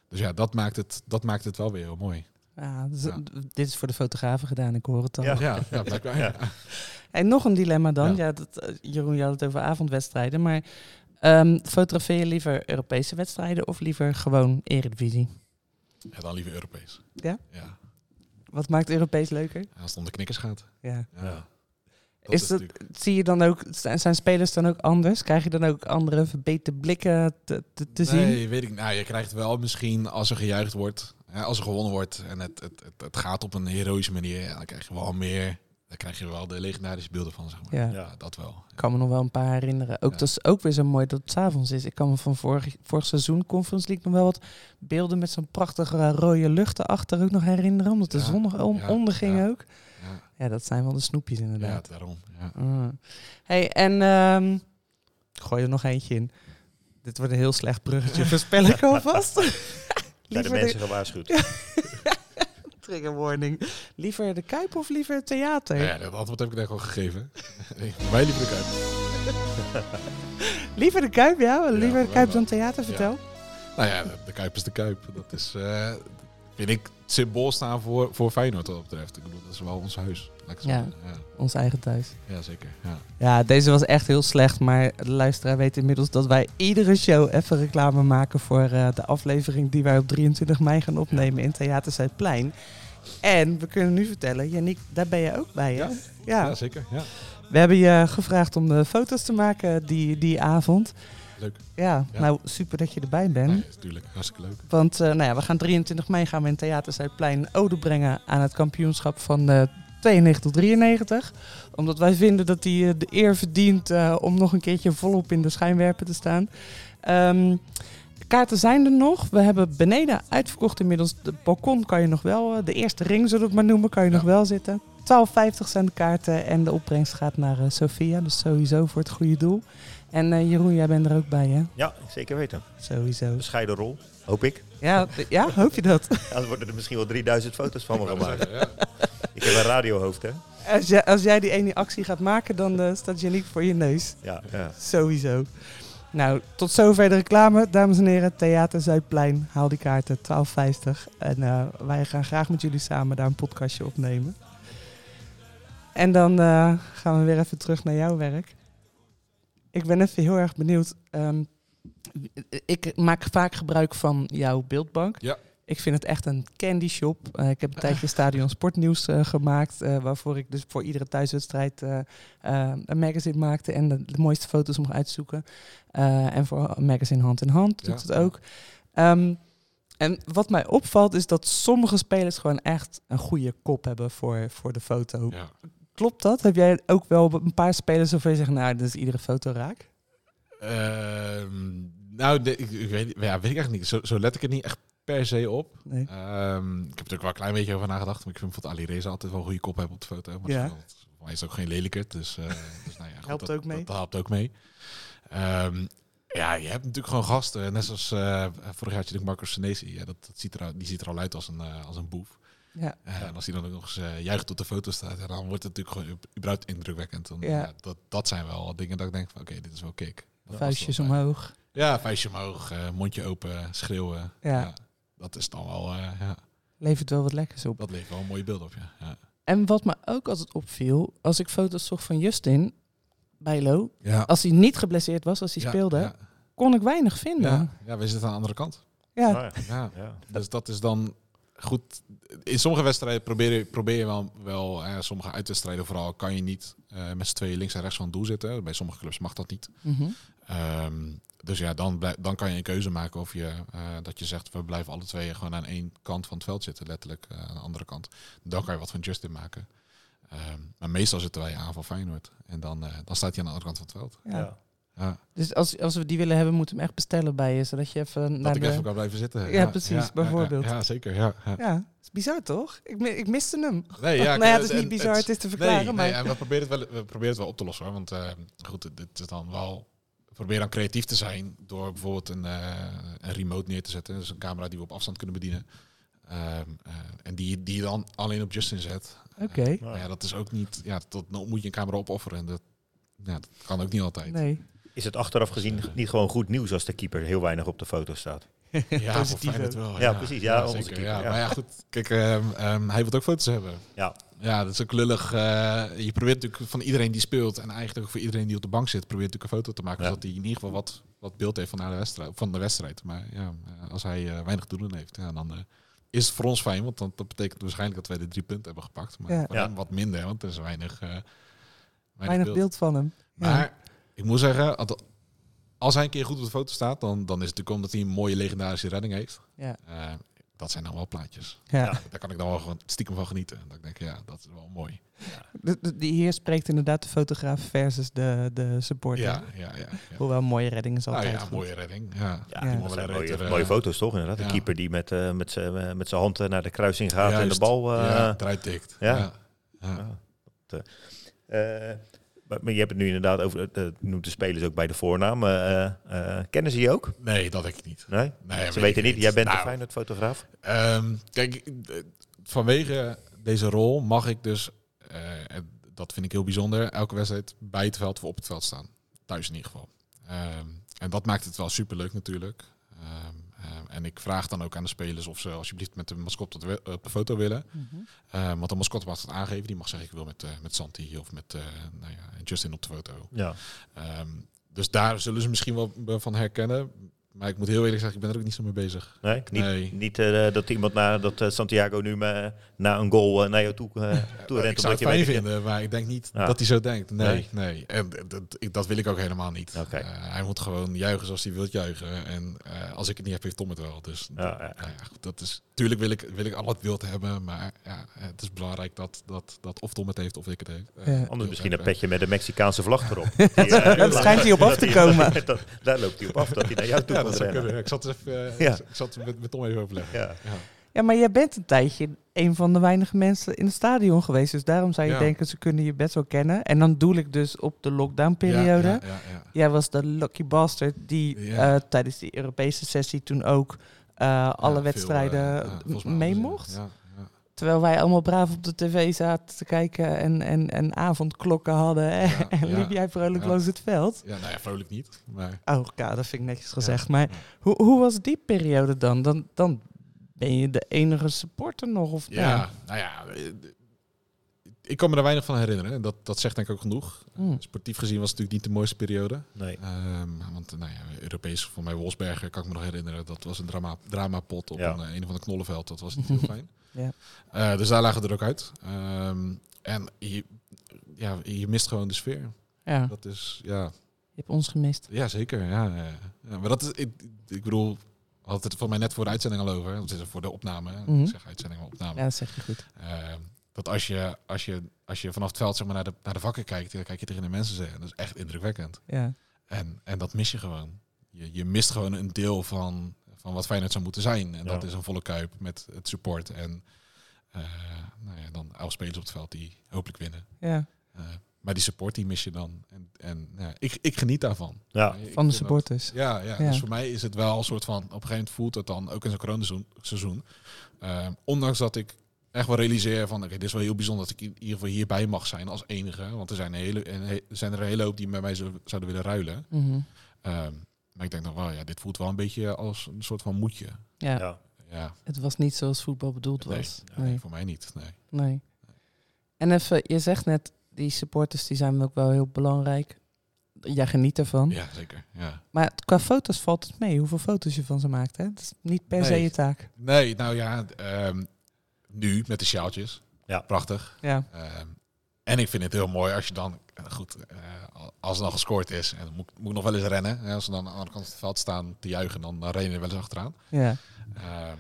Speaker 7: Dus ja, dat maakt het, dat maakt het wel weer heel mooi.
Speaker 5: Ja, dus,
Speaker 7: Ja.
Speaker 5: Dit is voor de fotografen gedaan, ik hoor het al.
Speaker 6: Ja.
Speaker 7: Ja, ja blijkbaar. Ja.
Speaker 5: En nog een dilemma dan. Ja.
Speaker 7: Ja.
Speaker 5: dat, eh, Jeroen, je had het over avondwedstrijden. Maar ehm fotografeer je liever Europese wedstrijden of liever gewoon Eredivisie?
Speaker 7: Ja, dan liever Europees.
Speaker 5: Ja?
Speaker 7: ja.
Speaker 5: Wat maakt Europees leuker?
Speaker 7: Als het om de knikkers gaat.
Speaker 5: Ja.
Speaker 7: Ja. Dat
Speaker 5: Is dat-
Speaker 7: natuurlijk-
Speaker 5: Zie je dan ook, zijn zijn spelers dan ook anders? Krijg je dan ook andere verbeterde blikken te, te, te zien?
Speaker 7: Nee, weet ik niet. Nou, je krijgt wel misschien als er gejuicht wordt, hè, als er gewonnen wordt en het, het, het, het gaat op een heroïsche manier, ja, dan krijg je wel meer. Dan krijg je wel de legendarische beelden van, zeg maar.
Speaker 5: Ja.
Speaker 7: Ja, dat wel.
Speaker 5: Ik kan me nog wel een paar herinneren. Ook
Speaker 7: Ja.
Speaker 5: dat is ook weer zo mooi dat het s'avonds is. Ik kan me van vorig, vorig seizoen Conference League nog wel wat beelden met zo'n prachtige eh, rode lucht erachter ook nog herinneren. Omdat de
Speaker 7: Ja.
Speaker 5: zon nog om,
Speaker 7: Ja.
Speaker 5: onderging
Speaker 7: Ja.
Speaker 5: ook.
Speaker 7: Ja,
Speaker 5: Ja, dat zijn wel de snoepjes
Speaker 7: ja
Speaker 5: inderdaad.
Speaker 7: daarom. Ja.
Speaker 5: Ah. Hey, en ehm, ik gooi er nog eentje in. Dit wordt een heel slecht bruggetje, voorspel ik alvast.
Speaker 6: Zijn de
Speaker 5: liever
Speaker 6: mensen gewaarschuwd?
Speaker 5: trigger warning. Liever de Kuip of liever het theater?
Speaker 7: Nou ja, dat antwoord heb ik net al gegeven. Wij liepen de Kuip.
Speaker 5: Liever de Kuip, ja? liever de
Speaker 7: wel,
Speaker 5: Kuip
Speaker 7: wel.
Speaker 5: dan theater,
Speaker 7: Ja.
Speaker 5: vertel.
Speaker 7: Nou ja, de- de Kuip is de Kuip. Dat is, eh, vind ik, het symbool staan voor, voor Feyenoord wat dat betreft. Ik bedoel, dat is wel ons huis. Laat ik het zo
Speaker 5: Ja.
Speaker 7: zeggen. Ja.
Speaker 5: Ons eigen thuis.
Speaker 7: ja, zeker. Ja.
Speaker 5: Ja, deze was echt heel slecht. Maar de luisteraar weet inmiddels dat wij iedere show even reclame maken voor eh, de aflevering die wij op 23 mei gaan opnemen in Theater Zuidplein. En we kunnen nu vertellen, Yannick, daar ben je ook bij, hè?
Speaker 7: Ja.
Speaker 5: Ja.
Speaker 7: Ja, zeker. Ja.
Speaker 5: We hebben je gevraagd om de foto's te maken die, die avond.
Speaker 7: Leuk.
Speaker 5: Ja,
Speaker 7: Ja.
Speaker 5: nou super dat je erbij bent.
Speaker 7: Nee, natuurlijk. Hartstikke leuk.
Speaker 5: Want eh, nou ja, we gaan 23 mei gaan we in Theater Zuidplein ode brengen aan het kampioenschap van eh 92 tot 93. Omdat wij vinden dat hij eh, de eer verdient eh, om nog een keertje volop in de schijnwerpen te staan. Ehm, kaarten zijn er nog. We hebben beneden uitverkocht inmiddels. De balkon kan je nog wel, eh, de eerste ring zullen we het maar noemen, kan je
Speaker 7: Ja.
Speaker 5: nog wel zitten. 12,50 zijn de kaarten en de opbrengst gaat naar eh, Sophia. Dus sowieso voor het goede doel. En eh, Jeroen, jij bent er ook bij, hè?
Speaker 6: Ja, zeker weten.
Speaker 5: Sowieso.
Speaker 6: Bescheiden rol, hoop ik.
Speaker 5: Ja, d- ja hoop je dat?
Speaker 6: Anders worden er misschien wel 3000 foto's van me gemaakt.
Speaker 7: Ja.
Speaker 6: Ik heb een radiohoofd, hè?
Speaker 5: Als jij, als jij die ene actie gaat maken, dan eh, staat Yannick voor je neus.
Speaker 6: Ja, ja.
Speaker 5: Sowieso. Nou, tot zover de reclame. Dames en heren, Theater Zuidplein. Haal die kaarten, 12,50. En eh, wij gaan graag met jullie samen daar een podcastje opnemen. En dan eh, gaan we weer even terug naar jouw werk. Ik ben even heel erg benieuwd. Ehm, ik maak vaak gebruik van jouw beeldbank.
Speaker 7: Ja.
Speaker 5: Ik vind het echt een candy shop. Eh, ik heb een tijdje Stadion Sportnieuws eh, gemaakt. eh, waarvoor ik dus voor iedere thuiswedstrijd eh, eh, een magazine maakte. En de, de mooiste foto's mocht uitzoeken. Eh, en voor een magazine hand in hand doet
Speaker 7: Ja.
Speaker 5: het ook. Ehm, en wat mij opvalt is dat sommige spelers gewoon echt een goede kop hebben voor, voor de foto.
Speaker 7: Ja.
Speaker 5: Klopt dat? Heb jij ook wel een paar spelers waarvan je zegt, nou, dit is iedere foto raak?
Speaker 7: Ehm, nou, de- ik, ik weet, ja, weet ik eigenlijk niet. Zo, zo let ik er niet echt per se op.
Speaker 5: Nee.
Speaker 7: Ehm, ik heb er ook wel een klein beetje over nagedacht. Maar ik vind bijvoorbeeld Ali Reza altijd wel een goede kop hebben op de foto. Maar
Speaker 5: Ja.
Speaker 7: ja. hij is ook geen lelijker. Dus, eh, dus nou ja, goed,
Speaker 5: Helpt
Speaker 7: dat,
Speaker 5: ook mee.
Speaker 7: Dat, dat helpt ook mee. Ehm, ja, je hebt natuurlijk gewoon gasten. Net zoals eh, vorig jaar had je natuurlijk Marcus Senesi. Ja, dat, dat ziet er, al- die ziet er al uit als een, eh, als een boef.
Speaker 5: Ja.
Speaker 7: Eh, En als hij dan ook nog eens eh, juichend op de foto staat, ja, dan wordt het natuurlijk gewoon u- überhaupt indrukwekkend. Dan,
Speaker 5: Ja.
Speaker 7: ja, dat, dat zijn wel dingen dat ik denk van oké, dit is wel kick. Dat was
Speaker 5: Vuistjes
Speaker 7: wel-
Speaker 5: omhoog.
Speaker 7: Ja, vuistje omhoog, eh, mondje open, schreeuwen.
Speaker 5: Ja.
Speaker 7: Ja. dat is dan wel, eh, ja,
Speaker 5: Levert wel wat lekkers op.
Speaker 7: dat levert wel mooie beelden op. Ja. Ja.
Speaker 5: En wat me ook altijd opviel, als ik foto's zocht van Justin bij Lo,
Speaker 7: Ja.
Speaker 5: als hij niet geblesseerd was, als hij
Speaker 7: Ja,
Speaker 5: Oh, speelde,
Speaker 7: Ja,
Speaker 5: kon ik weinig vinden.
Speaker 7: ja,
Speaker 5: Ja,
Speaker 7: ja, we zitten aan de andere kant.
Speaker 5: ja.
Speaker 6: Nou ja,
Speaker 7: Ja.
Speaker 6: ja.
Speaker 7: Dus dat is dan goed. In sommige wedstrijden probeer je, probeer je wel, wel hè, sommige uitwedstrijden vooral, kan je niet eh, met z'n tweeën links en rechts van het doel zitten. Bij sommige clubs mag dat niet.
Speaker 5: Mhm.
Speaker 7: Ehm, dus ja, dan, blij- dan kan je een keuze maken of je, eh, dat je zegt, we blijven alle twee gewoon aan één kant van het veld zitten, letterlijk eh, aan de andere kant. Dan kan je wat van Justin maken. Ehm, maar meestal zitten wij aan van Feyenoord. En dan, eh, dan staat hij aan de andere kant van het veld.
Speaker 5: Ja.
Speaker 6: Ja.
Speaker 7: Ja,
Speaker 5: Dus als, als we die willen hebben, moeten we hem echt bestellen bij je, zodat je even naar
Speaker 7: dat ik
Speaker 5: de...
Speaker 7: even kan blijven zitten.
Speaker 5: eh, Ja, precies, bijvoorbeeld.
Speaker 7: Ja, zeker. Ja, ja.
Speaker 5: Ja, is bizar toch? Ik, mi- ik miste hem.
Speaker 7: Nee,
Speaker 5: Ja,
Speaker 7: ja,
Speaker 5: nou ja,
Speaker 7: ik-
Speaker 5: het is niet bizar, het,
Speaker 7: het-
Speaker 5: is te verklaren,
Speaker 7: nee,
Speaker 5: maar...
Speaker 7: nee, en we proberen, het wel, we proberen het wel op te lossen hoor. Want eh, goed, dit is dan wel. We proberen dan creatief te zijn door bijvoorbeeld een, eh, een remote neer te zetten. Dus een camera die we op afstand kunnen bedienen. Ehm, eh, en die, die je dan alleen op Justin zet.
Speaker 5: Oké,
Speaker 7: Maar ja, dat is ook niet. Ja, dat dan moet je een camera opofferen. En dat, ja, dat kan ook niet altijd.
Speaker 5: nee.
Speaker 6: Is het achteraf gezien niet gewoon goed nieuws als de keeper heel weinig op de foto staat?
Speaker 7: Ja,
Speaker 5: Positief
Speaker 7: voor Feyenoord
Speaker 5: ook.
Speaker 7: wel.
Speaker 6: Ja, precies, ja, onze
Speaker 7: zeker,
Speaker 6: keeper,
Speaker 7: ja.
Speaker 6: ja.
Speaker 7: Maar ja, goed. Kijk, ehm, ehm, hij wil ook foto's hebben.
Speaker 6: Ja,
Speaker 7: Ja, dat is ook lullig. Eh, je probeert natuurlijk van iedereen die speelt en eigenlijk ook voor iedereen die op de bank zit, probeert natuurlijk een foto te maken.
Speaker 6: Ja.
Speaker 7: Zodat hij in ieder geval wat, wat beeld heeft van, na de wedstrijd, van de wedstrijd. Maar ja, eh, als hij eh, weinig te doen heeft, ja, dan eh, is het voor ons fijn. Want dan, dat betekent waarschijnlijk dat wij de drie punten hebben gepakt. Maar
Speaker 5: Ja.
Speaker 7: voor
Speaker 6: Ja.
Speaker 7: hem wat minder, want er is weinig, eh, weinig,
Speaker 5: Weinig beeld.
Speaker 7: beeld.
Speaker 5: van hem. Ja.
Speaker 7: Maar ik moet zeggen, at- als hij een keer goed op de foto staat, dan, dan is het natuurlijk omdat hij een mooie legendarische redding heeft.
Speaker 5: Ja.
Speaker 7: Eh, dat zijn dan wel plaatjes.
Speaker 5: Ja.
Speaker 6: Ja.
Speaker 7: Daar kan ik dan wel gewoon stiekem van genieten. Dat ik denk, ja, dat is wel mooi.
Speaker 5: De- de- die hier spreekt inderdaad de fotograaf versus de, de supporter.
Speaker 7: Ja, ja, ja. ja.
Speaker 5: Hoewel mooie redding is
Speaker 7: Nou
Speaker 5: altijd
Speaker 7: ja,
Speaker 5: goed.
Speaker 7: mooie redding. Ja.
Speaker 6: ja,
Speaker 5: Ja.
Speaker 6: dat zijn mooie,
Speaker 7: Beter,
Speaker 6: mooie
Speaker 7: eh,
Speaker 6: foto's toch inderdaad?
Speaker 7: ja.
Speaker 6: De keeper die met, eh, met zijn eh, met zijn hand eh, naar de kruising gaat en de
Speaker 7: Juist.
Speaker 6: bal... eh,
Speaker 7: ja, eruit tikt.
Speaker 6: ja.
Speaker 7: Ja. Ja.
Speaker 6: Ja. Dat, eh, eh, maar, maar je hebt het nu inderdaad over, eh, eh, noemt de spelers ook bij de voornaam. eh, eh, eh, kennen ze je ook?
Speaker 7: Nee, dat denk ik niet.
Speaker 6: Nee?
Speaker 7: Nee, weet
Speaker 6: ze
Speaker 7: ik
Speaker 6: weten niet,
Speaker 7: niet.
Speaker 6: jij bent
Speaker 7: Nou.
Speaker 6: een Feyenoord-fotograaf.
Speaker 7: Ehm, kijk, ik- eh, vanwege deze rol mag ik dus, eh, en dat vind ik heel bijzonder, elke wedstrijd bij het veld of op het veld staan. Thuis in ieder geval. Ehm, en dat maakt het wel superleuk natuurlijk. Ehm, ehm, en ik vraag dan ook aan de spelers of ze alsjeblieft met de mascot op de, we- op de foto willen.
Speaker 5: Mhm.
Speaker 7: Ehm, want de mascot mag het aangeven. Die mag zeggen ik wil met, eh, met Santi of met eh, nou ja, Justin op de foto.
Speaker 6: Ja.
Speaker 7: Ehm, dus daar zullen ze misschien wel me van herkennen. Maar ik moet heel eerlijk zeggen, ik ben er ook niet zo mee bezig.
Speaker 6: Nee? Niet,
Speaker 7: Nee.
Speaker 6: niet eh, dat iemand na, dat eh, Santiago nu me- na een goal eh, naar jou toe, eh, toe rent.
Speaker 7: ik zou het
Speaker 6: weet
Speaker 7: fijn
Speaker 6: dat
Speaker 7: vinden, maar ik denk niet
Speaker 6: Ja.
Speaker 7: dat hij zo denkt. Nee,
Speaker 6: Nee.
Speaker 7: nee. En d- dat, ik- dat wil ik ook helemaal niet.
Speaker 6: Oké.
Speaker 7: Eh, hij moet gewoon juichen zoals hij wil juichen. En eh, als ik het niet heb, heeft Tom het wel. Dus
Speaker 6: Ja, ja.
Speaker 7: nou ja, goed, dat is, tuurlijk wil ik, wil ik al het wild hebben. Maar ja, het is belangrijk dat, dat, dat of Tom het heeft of ik het heb. Eh,
Speaker 5: Ja.
Speaker 7: heel
Speaker 6: Anders misschien een
Speaker 7: erg.
Speaker 6: petje met een Mexicaanse vlag erop. Die, eh,
Speaker 5: dat schijnt hij op af te
Speaker 6: dat
Speaker 5: komen.
Speaker 6: dat- daar loopt hij op af, dat hij naar jou toe
Speaker 7: Ja, dat
Speaker 6: komt
Speaker 7: zou
Speaker 6: rennen.
Speaker 7: kunnen. Ik zat, eens even, eh,
Speaker 6: Ja.
Speaker 7: ik zat met, met Tom even overleggen.
Speaker 6: Ja.
Speaker 5: Ja, maar jij bent een tijdje een van de weinige mensen in het stadion geweest. Dus daarom zou je
Speaker 7: Ja.
Speaker 5: denken, ze kunnen je best wel kennen. En dan doel ik dus op de lockdownperiode.
Speaker 7: Ja, ja, ja, ja.
Speaker 5: Jij was de lucky bastard die
Speaker 7: Ja.
Speaker 5: eh, tijdens die Europese sessie toen ook eh, alle
Speaker 7: Ja,
Speaker 5: wedstrijden
Speaker 7: veel, eh, ja, volgens mij
Speaker 5: mee
Speaker 7: alles,
Speaker 5: mocht.
Speaker 7: ja, ja.
Speaker 5: Terwijl wij allemaal braaf op de tv zaten te kijken en, en, en avondklokken hadden.
Speaker 7: Ja,
Speaker 5: en
Speaker 7: ja,
Speaker 5: liep jij vrolijk
Speaker 7: ja.
Speaker 5: langs het veld.
Speaker 7: Ja, nou ja, vrolijk niet. Maar
Speaker 5: Oh, ja, dat vind ik netjes gezegd.
Speaker 7: Ja.
Speaker 5: Maar hoe, hoe was die periode dan? dan? Dan ben je de enige supporter nog? Of
Speaker 7: ja, nou ja, eh, ik kan me er weinig van herinneren. En dat, dat zegt denk ik ook genoeg.
Speaker 5: Hm.
Speaker 7: Sportief gezien was het natuurlijk niet de mooiste periode.
Speaker 6: Nee.
Speaker 7: Ehm, want eh, nou ja, Europees, voor mij Wolfsberger, kan ik me nog herinneren. Dat was een drama, dramapot op
Speaker 6: Ja.
Speaker 7: een, eh, een of ander knollenveld. Dat was niet heel fijn.
Speaker 5: Ja.
Speaker 7: Eh, dus daar lagen we er ook uit. Ehm, en je, ja, je mist gewoon de sfeer.
Speaker 5: Ja,
Speaker 7: Dat is, ja,
Speaker 5: je hebt ons gemist.
Speaker 7: Ja, zeker. Ja, ja, ja. ja maar dat is, ik, ik bedoel, we hadden het voor mij net voor de uitzending al over. Dat is voor de opname. hè.
Speaker 5: Mhm.
Speaker 7: Ik zeg uitzending, maar opname.
Speaker 5: Ja, dat zeg je goed.
Speaker 7: Ehm, dat als je, als, je, als je vanaf het veld zeg maar, naar, de, naar de vakken kijkt, dan kijk je tegen de mensen zeggen. Dat is echt indrukwekkend.
Speaker 5: Ja.
Speaker 7: En, en dat mis je gewoon. Je, je mist gewoon een deel van, van wat Feyenoord zou moeten zijn. En
Speaker 6: Ja.
Speaker 7: dat is een volle kuip met het support. En eh, nou ja, dan elf spelers op het veld die hopelijk winnen.
Speaker 5: Ja.
Speaker 7: Eh, Maar die support die mis je dan. En, en ja, ik, ik geniet daarvan.
Speaker 6: Ja.
Speaker 7: Ik
Speaker 5: Van de
Speaker 7: vind dat-
Speaker 5: supporters.
Speaker 7: Ja, ja,
Speaker 5: Ja.
Speaker 7: dus voor mij is het wel een soort van... Op een gegeven moment voelt het dan, ook in zo'n coronaseizoen... Seizoen, ehm, ondanks dat ik echt wel realiseer van... Oké, dit is wel heel bijzonder dat ik in ieder geval hierbij mag zijn als enige. Want er zijn, een hele, een he- er zijn er een hele hoop die met mij zo- zouden willen ruilen.
Speaker 5: Mhm.
Speaker 7: Ehm, maar ik denk nog wel, ja, dit voelt wel een beetje als een soort van moedje.
Speaker 5: ja.
Speaker 6: Ja.
Speaker 7: Ja,
Speaker 5: het was niet zoals voetbal bedoeld
Speaker 7: Nee,
Speaker 5: was.
Speaker 7: ja,
Speaker 5: Nee.
Speaker 7: voor mij niet, nee.
Speaker 5: Nee. En even, je zegt net, die supporters die zijn ook wel heel belangrijk. Jij geniet ervan.
Speaker 7: Ja, zeker, ja.
Speaker 5: Maar qua foto's valt het mee hoeveel foto's je van ze maakt. Hè? Het is niet per se
Speaker 7: Nee.
Speaker 5: je taak.
Speaker 7: Nee, nou ja, ehm, nu met de sjaaltjes.
Speaker 6: Ja.
Speaker 7: Prachtig.
Speaker 5: Ja.
Speaker 7: Ehm, en ik vind het heel mooi als je dan, eh, goed, eh, als er dan gescoord is, en dan moet, moet ik nog wel eens rennen. hè, als ze dan aan de andere kant van het veld staan te juichen, dan, dan rennen we wel eens achteraan.
Speaker 5: ja.
Speaker 7: Ehm,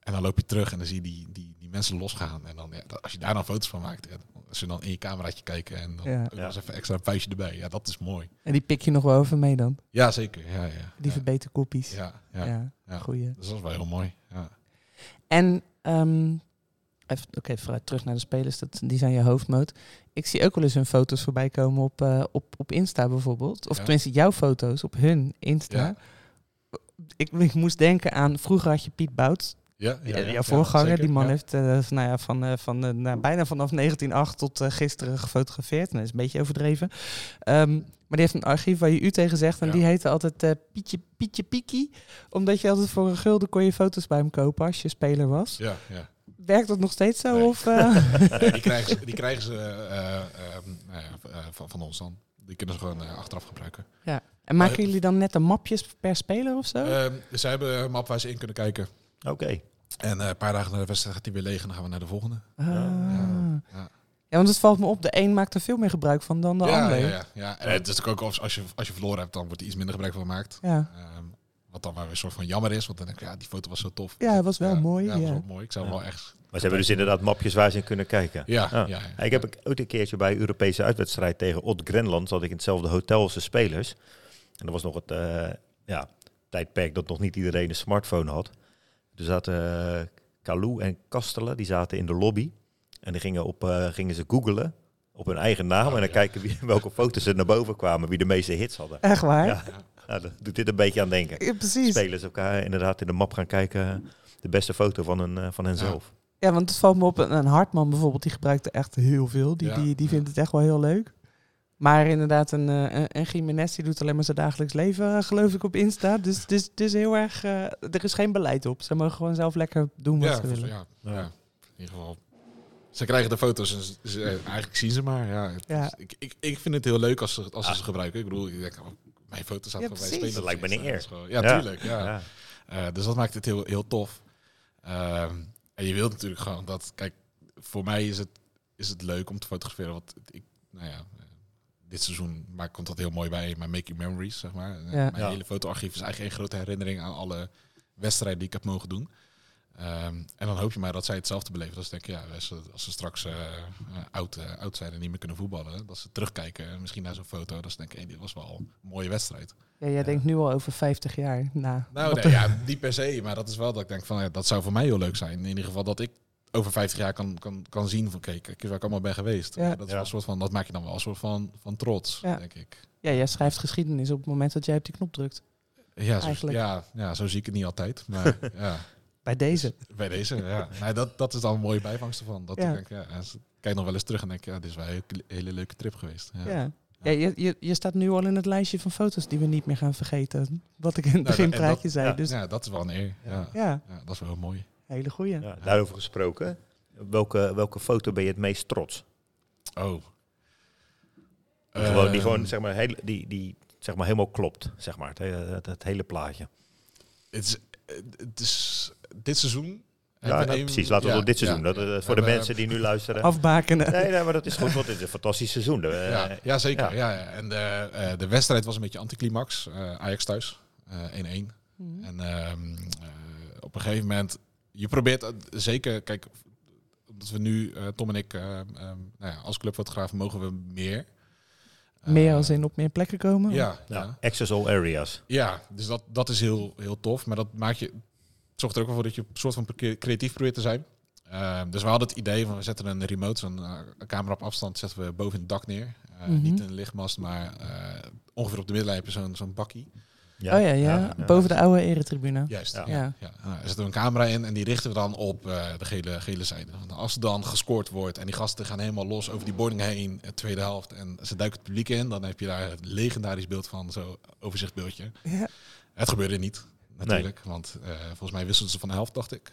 Speaker 7: en dan loop je terug en dan zie je die, die, die mensen losgaan. En dan, ja, dat- als je daar dan foto's van maakt, ja, als ze dan in je cameraatje kijken en dan
Speaker 5: Ja.
Speaker 7: ook nog eens even extra puistje erbij. Ja, dat is mooi.
Speaker 5: En die pik je nog wel even mee dan.
Speaker 7: Ja, zeker. Ja, ja,
Speaker 5: Die
Speaker 7: ja,
Speaker 5: verbeterkopies.
Speaker 7: ja, ja.
Speaker 5: Ja,
Speaker 7: ja.
Speaker 5: goeie.
Speaker 7: Dus dat is wel heel mooi. Ja.
Speaker 5: En, ehm, even- oké, vooruit terug naar de spelers. Dat, die zijn je hoofdmoot. Ik zie ook wel eens hun foto's voorbij komen op, eh, op, op Insta bijvoorbeeld. Of
Speaker 7: Ja.
Speaker 5: tenminste jouw foto's op hun Insta.
Speaker 7: Ja.
Speaker 5: Ik, ik moest denken aan, vroeger had je Piet Bouts.
Speaker 7: Ja,
Speaker 5: Ja,
Speaker 7: ja, ja,
Speaker 5: Eh, jouw voorganger,
Speaker 7: zeker,
Speaker 5: die man
Speaker 7: ja.
Speaker 5: heeft eh, nou ja, van, eh, van, eh, nou, bijna vanaf 1908 tot eh, gisteren gefotografeerd. Nou, dat is een beetje overdreven. Ehm, maar die heeft een archief waar je u tegen zegt. En
Speaker 7: Ja.
Speaker 5: die heette altijd eh, Pietje, Pietje Piekie. Omdat je altijd voor een gulden kon je foto's bij hem kopen als je speler was.
Speaker 7: Ja, ja.
Speaker 5: Werkt dat nog steeds zo?
Speaker 7: Nee.
Speaker 5: Of, eh?
Speaker 7: Ja, die krijgen ze, die krijgen ze eh, eh, ehm, nou ja, v- eh, van, van ons dan. Die kunnen ze gewoon eh, achteraf gebruiken.
Speaker 5: en maken jullie dan net de mapjes per speler of zo?
Speaker 7: Ehm, ze hebben een map waar ze in kunnen kijken.
Speaker 6: Oké.
Speaker 7: En eh, een paar dagen na de wedstrijd gaat die weer leeg en dan gaan we naar de volgende.
Speaker 5: Ah.
Speaker 7: ja, ja.
Speaker 5: Ja, want het valt me op. De een maakt er veel meer gebruik van dan de
Speaker 7: ja,
Speaker 5: ander.
Speaker 7: ja, ja, ja. En het is natuurlijk ook als- als je, als je verloren hebt, dan wordt er iets minder gebruik van gemaakt.
Speaker 5: Ja.
Speaker 7: Ehm, wat dan wel weer een soort van jammer is, want dan denk ik, ja, die foto was zo tof.
Speaker 5: Ja, was wel mooi,
Speaker 7: Ja, was
Speaker 5: ja.
Speaker 7: wel mooi. Ik zou hem wel echt...
Speaker 6: Maar ze hebben dus inderdaad mapjes waar ze in kunnen kijken.
Speaker 7: Ja, ja.
Speaker 6: Ja.
Speaker 7: ja,
Speaker 6: Ja, Ik heb ook ooit een keertje bij een Europese uitwedstrijd tegen Odd Grenland. zat ik in hetzelfde hotel als de spelers. En dat was nog het eh, ja, tijdperk dat nog niet iedereen een smartphone had. Dus zaten eh, Kalou en Kastelen, die zaten in de lobby. En die gingen, op, eh, gingen ze googelen op hun eigen naam. en dan kijken wie, welke foto's er naar boven kwamen, wie de meeste hits hadden.
Speaker 5: Echt waar?
Speaker 6: Ja, nou, dat doet dit een beetje aan denken.
Speaker 5: Ja, precies.
Speaker 6: Spelers elkaar inderdaad in de map gaan kijken. De beste foto van, hun, eh, van henzelf.
Speaker 5: Ja, want het valt me op. Een een Hartman bijvoorbeeld, die gebruikt er echt heel veel. Die,
Speaker 7: Ja,
Speaker 5: die, die
Speaker 7: ja.
Speaker 5: vindt het echt wel heel leuk. Maar inderdaad, een, eh, een, een Jiménez die doet alleen maar zijn dagelijks leven, eh, geloof ik, op Insta. Dus, dus, dus heel erg, eh, er is geen beleid op. Ze mogen gewoon zelf lekker doen wat
Speaker 7: Ja,
Speaker 5: ze willen.
Speaker 7: ja, ja. in ieder geval. Ze krijgen de foto's en ze- ze- eigenlijk zien ze maar. Ja, het
Speaker 5: Ja.
Speaker 7: is- ik, ik, ik vind het heel leuk als ze, als ze ze gebruiken. Ik bedoel, ik denk, oh, mijn foto's
Speaker 5: Ja,
Speaker 7: zaten van bij
Speaker 5: precies.
Speaker 7: spelen.
Speaker 6: Dat lijkt me een eer.
Speaker 7: Ja,
Speaker 6: Ja.
Speaker 7: tuurlijk. Ja.
Speaker 6: Ja.
Speaker 7: Eh, dus dat maakt het heel, heel tof. Ehm, en je wilt natuurlijk gewoon dat... Kijk, voor mij is het, is het leuk om te fotograferen. Want ik, nou ja, eh, dit seizoen maak, komt dat heel mooi bij. Mijn Making Memories, zeg maar. Eh,
Speaker 5: Ja.
Speaker 7: Mijn
Speaker 6: Ja.
Speaker 7: hele fotoarchief is eigenlijk een grote herinnering aan alle wedstrijden die ik heb mogen doen. Ehm, en dan hoop je maar dat zij hetzelfde beleven. Dat ze denken, ja, als ze, als ze straks eh, eh, oud, eh, oud zijn en niet meer kunnen voetballen, dat ze terugkijken, eh, misschien naar zo'n foto, dat ze denken, hey, dit was wel een mooie wedstrijd.
Speaker 5: Ja, jij denkt nu al over 50 jaar na.
Speaker 7: Nou, nee, ja, niet per se, maar dat is wel dat ik denk van ja, dat zou voor mij heel leuk zijn. In ieder geval dat ik over 50 jaar kan, kan, kan zien van kijk, kijk eens waar ik allemaal ben geweest.
Speaker 5: Ja.
Speaker 7: Dat, is wel een soort van, dat maak je dan wel een soort van, van trots,
Speaker 5: Ja.
Speaker 7: denk ik.
Speaker 5: Ja, jij schrijft geschiedenis op het moment dat jij op die knop drukt.
Speaker 7: Ja zo,
Speaker 5: Eigenlijk.
Speaker 7: ja, ja, zo zie ik het niet altijd. Maar ja,
Speaker 5: Bij
Speaker 7: Dus,
Speaker 5: deze.
Speaker 7: bij deze, ja. Nee, dat, dat is dan een mooie bijvangst ervan. Dat
Speaker 5: Ja.
Speaker 7: ik denk, ja, en ze- ik kijk nog wel eens terug en denk, ja, dit is wel een hele- hele leuke trip geweest. Ja.
Speaker 5: Ja. Ja, je, je, je staat nu al in het lijstje van foto's die we niet meer gaan vergeten. Wat ik in het
Speaker 7: dat-
Speaker 5: begin
Speaker 7: Nou, en
Speaker 5: praatje zei.
Speaker 6: ja,
Speaker 5: dus ja,
Speaker 7: Ja, dat is wel een eer. Ja. Ja. dat is wel heel mooi.
Speaker 5: hele goeie.
Speaker 6: Ja, daarover gesproken. Welke, welke foto ben je het meest trots?
Speaker 7: Oh.
Speaker 6: Die gewoon, die
Speaker 7: Ehm,
Speaker 6: gewoon zeg maar, heel, die, die, zeg maar helemaal klopt, zeg maar. Het, he- het, het hele plaatje.
Speaker 7: Het is, het is dit seizoen.
Speaker 6: Ja,
Speaker 7: hebben we
Speaker 6: nou,
Speaker 7: een-
Speaker 6: precies. Laten we
Speaker 7: ja,
Speaker 6: het op dit
Speaker 7: ja,
Speaker 6: seizoen. dat,
Speaker 7: ja.
Speaker 6: eh, voor de
Speaker 7: We hebben-
Speaker 6: mensen die nu luisteren.
Speaker 5: Afbakenen.
Speaker 6: Nee, nee, maar dat is goed, want dit is een fantastisch seizoen. Eh,
Speaker 7: Ja, ja, zeker.
Speaker 6: ja.
Speaker 7: Ja. ja. En de, eh, de wedstrijd was een beetje anticlimax. Eh, Ajax thuis, eh, 1-1.
Speaker 5: Mhm.
Speaker 7: En ehm, eh, op een gegeven moment, je probeert het zeker, kijk, omdat we nu, eh, Tom en ik, eh, ehm, nou ja, als clubfotograaf mogen we meer.
Speaker 5: Meer
Speaker 7: Eh,
Speaker 5: als in op meer plekken komen?
Speaker 7: Ja,
Speaker 6: Nou,
Speaker 7: ja.
Speaker 6: access all areas.
Speaker 7: ja, dus dat, dat is heel, heel tof. Maar dat maakt je, het zorgt er ook wel voor dat je een soort van cre- creatief probeert te zijn. Ehm, dus we hadden het idee van we zetten een remote, zo'n eh, camera op afstand, zetten we boven in het dak neer. Eh,
Speaker 5: Mhm.
Speaker 7: Niet een lichtmast, maar eh, ongeveer op de middenlijn zo'n zo'n bakkie.
Speaker 5: oh ja, ja. boven de oude eretribune.
Speaker 7: Juist.
Speaker 6: Ja.
Speaker 7: Ja.
Speaker 5: Ja.
Speaker 7: Ja. Nou, er zit een camera in en die richten we dan op eh, de gele, gele zijde. Want als er dan gescoord wordt en die gasten gaan helemaal los over die boarding heen, eh, tweede helft, en ze duiken het publiek in, dan heb je daar het legendarisch beeld van, zo'n overzichtbeeldje.
Speaker 5: Ja.
Speaker 7: Het gebeurde niet, natuurlijk, want eh, volgens mij wisselden ze van de helft, dacht ik.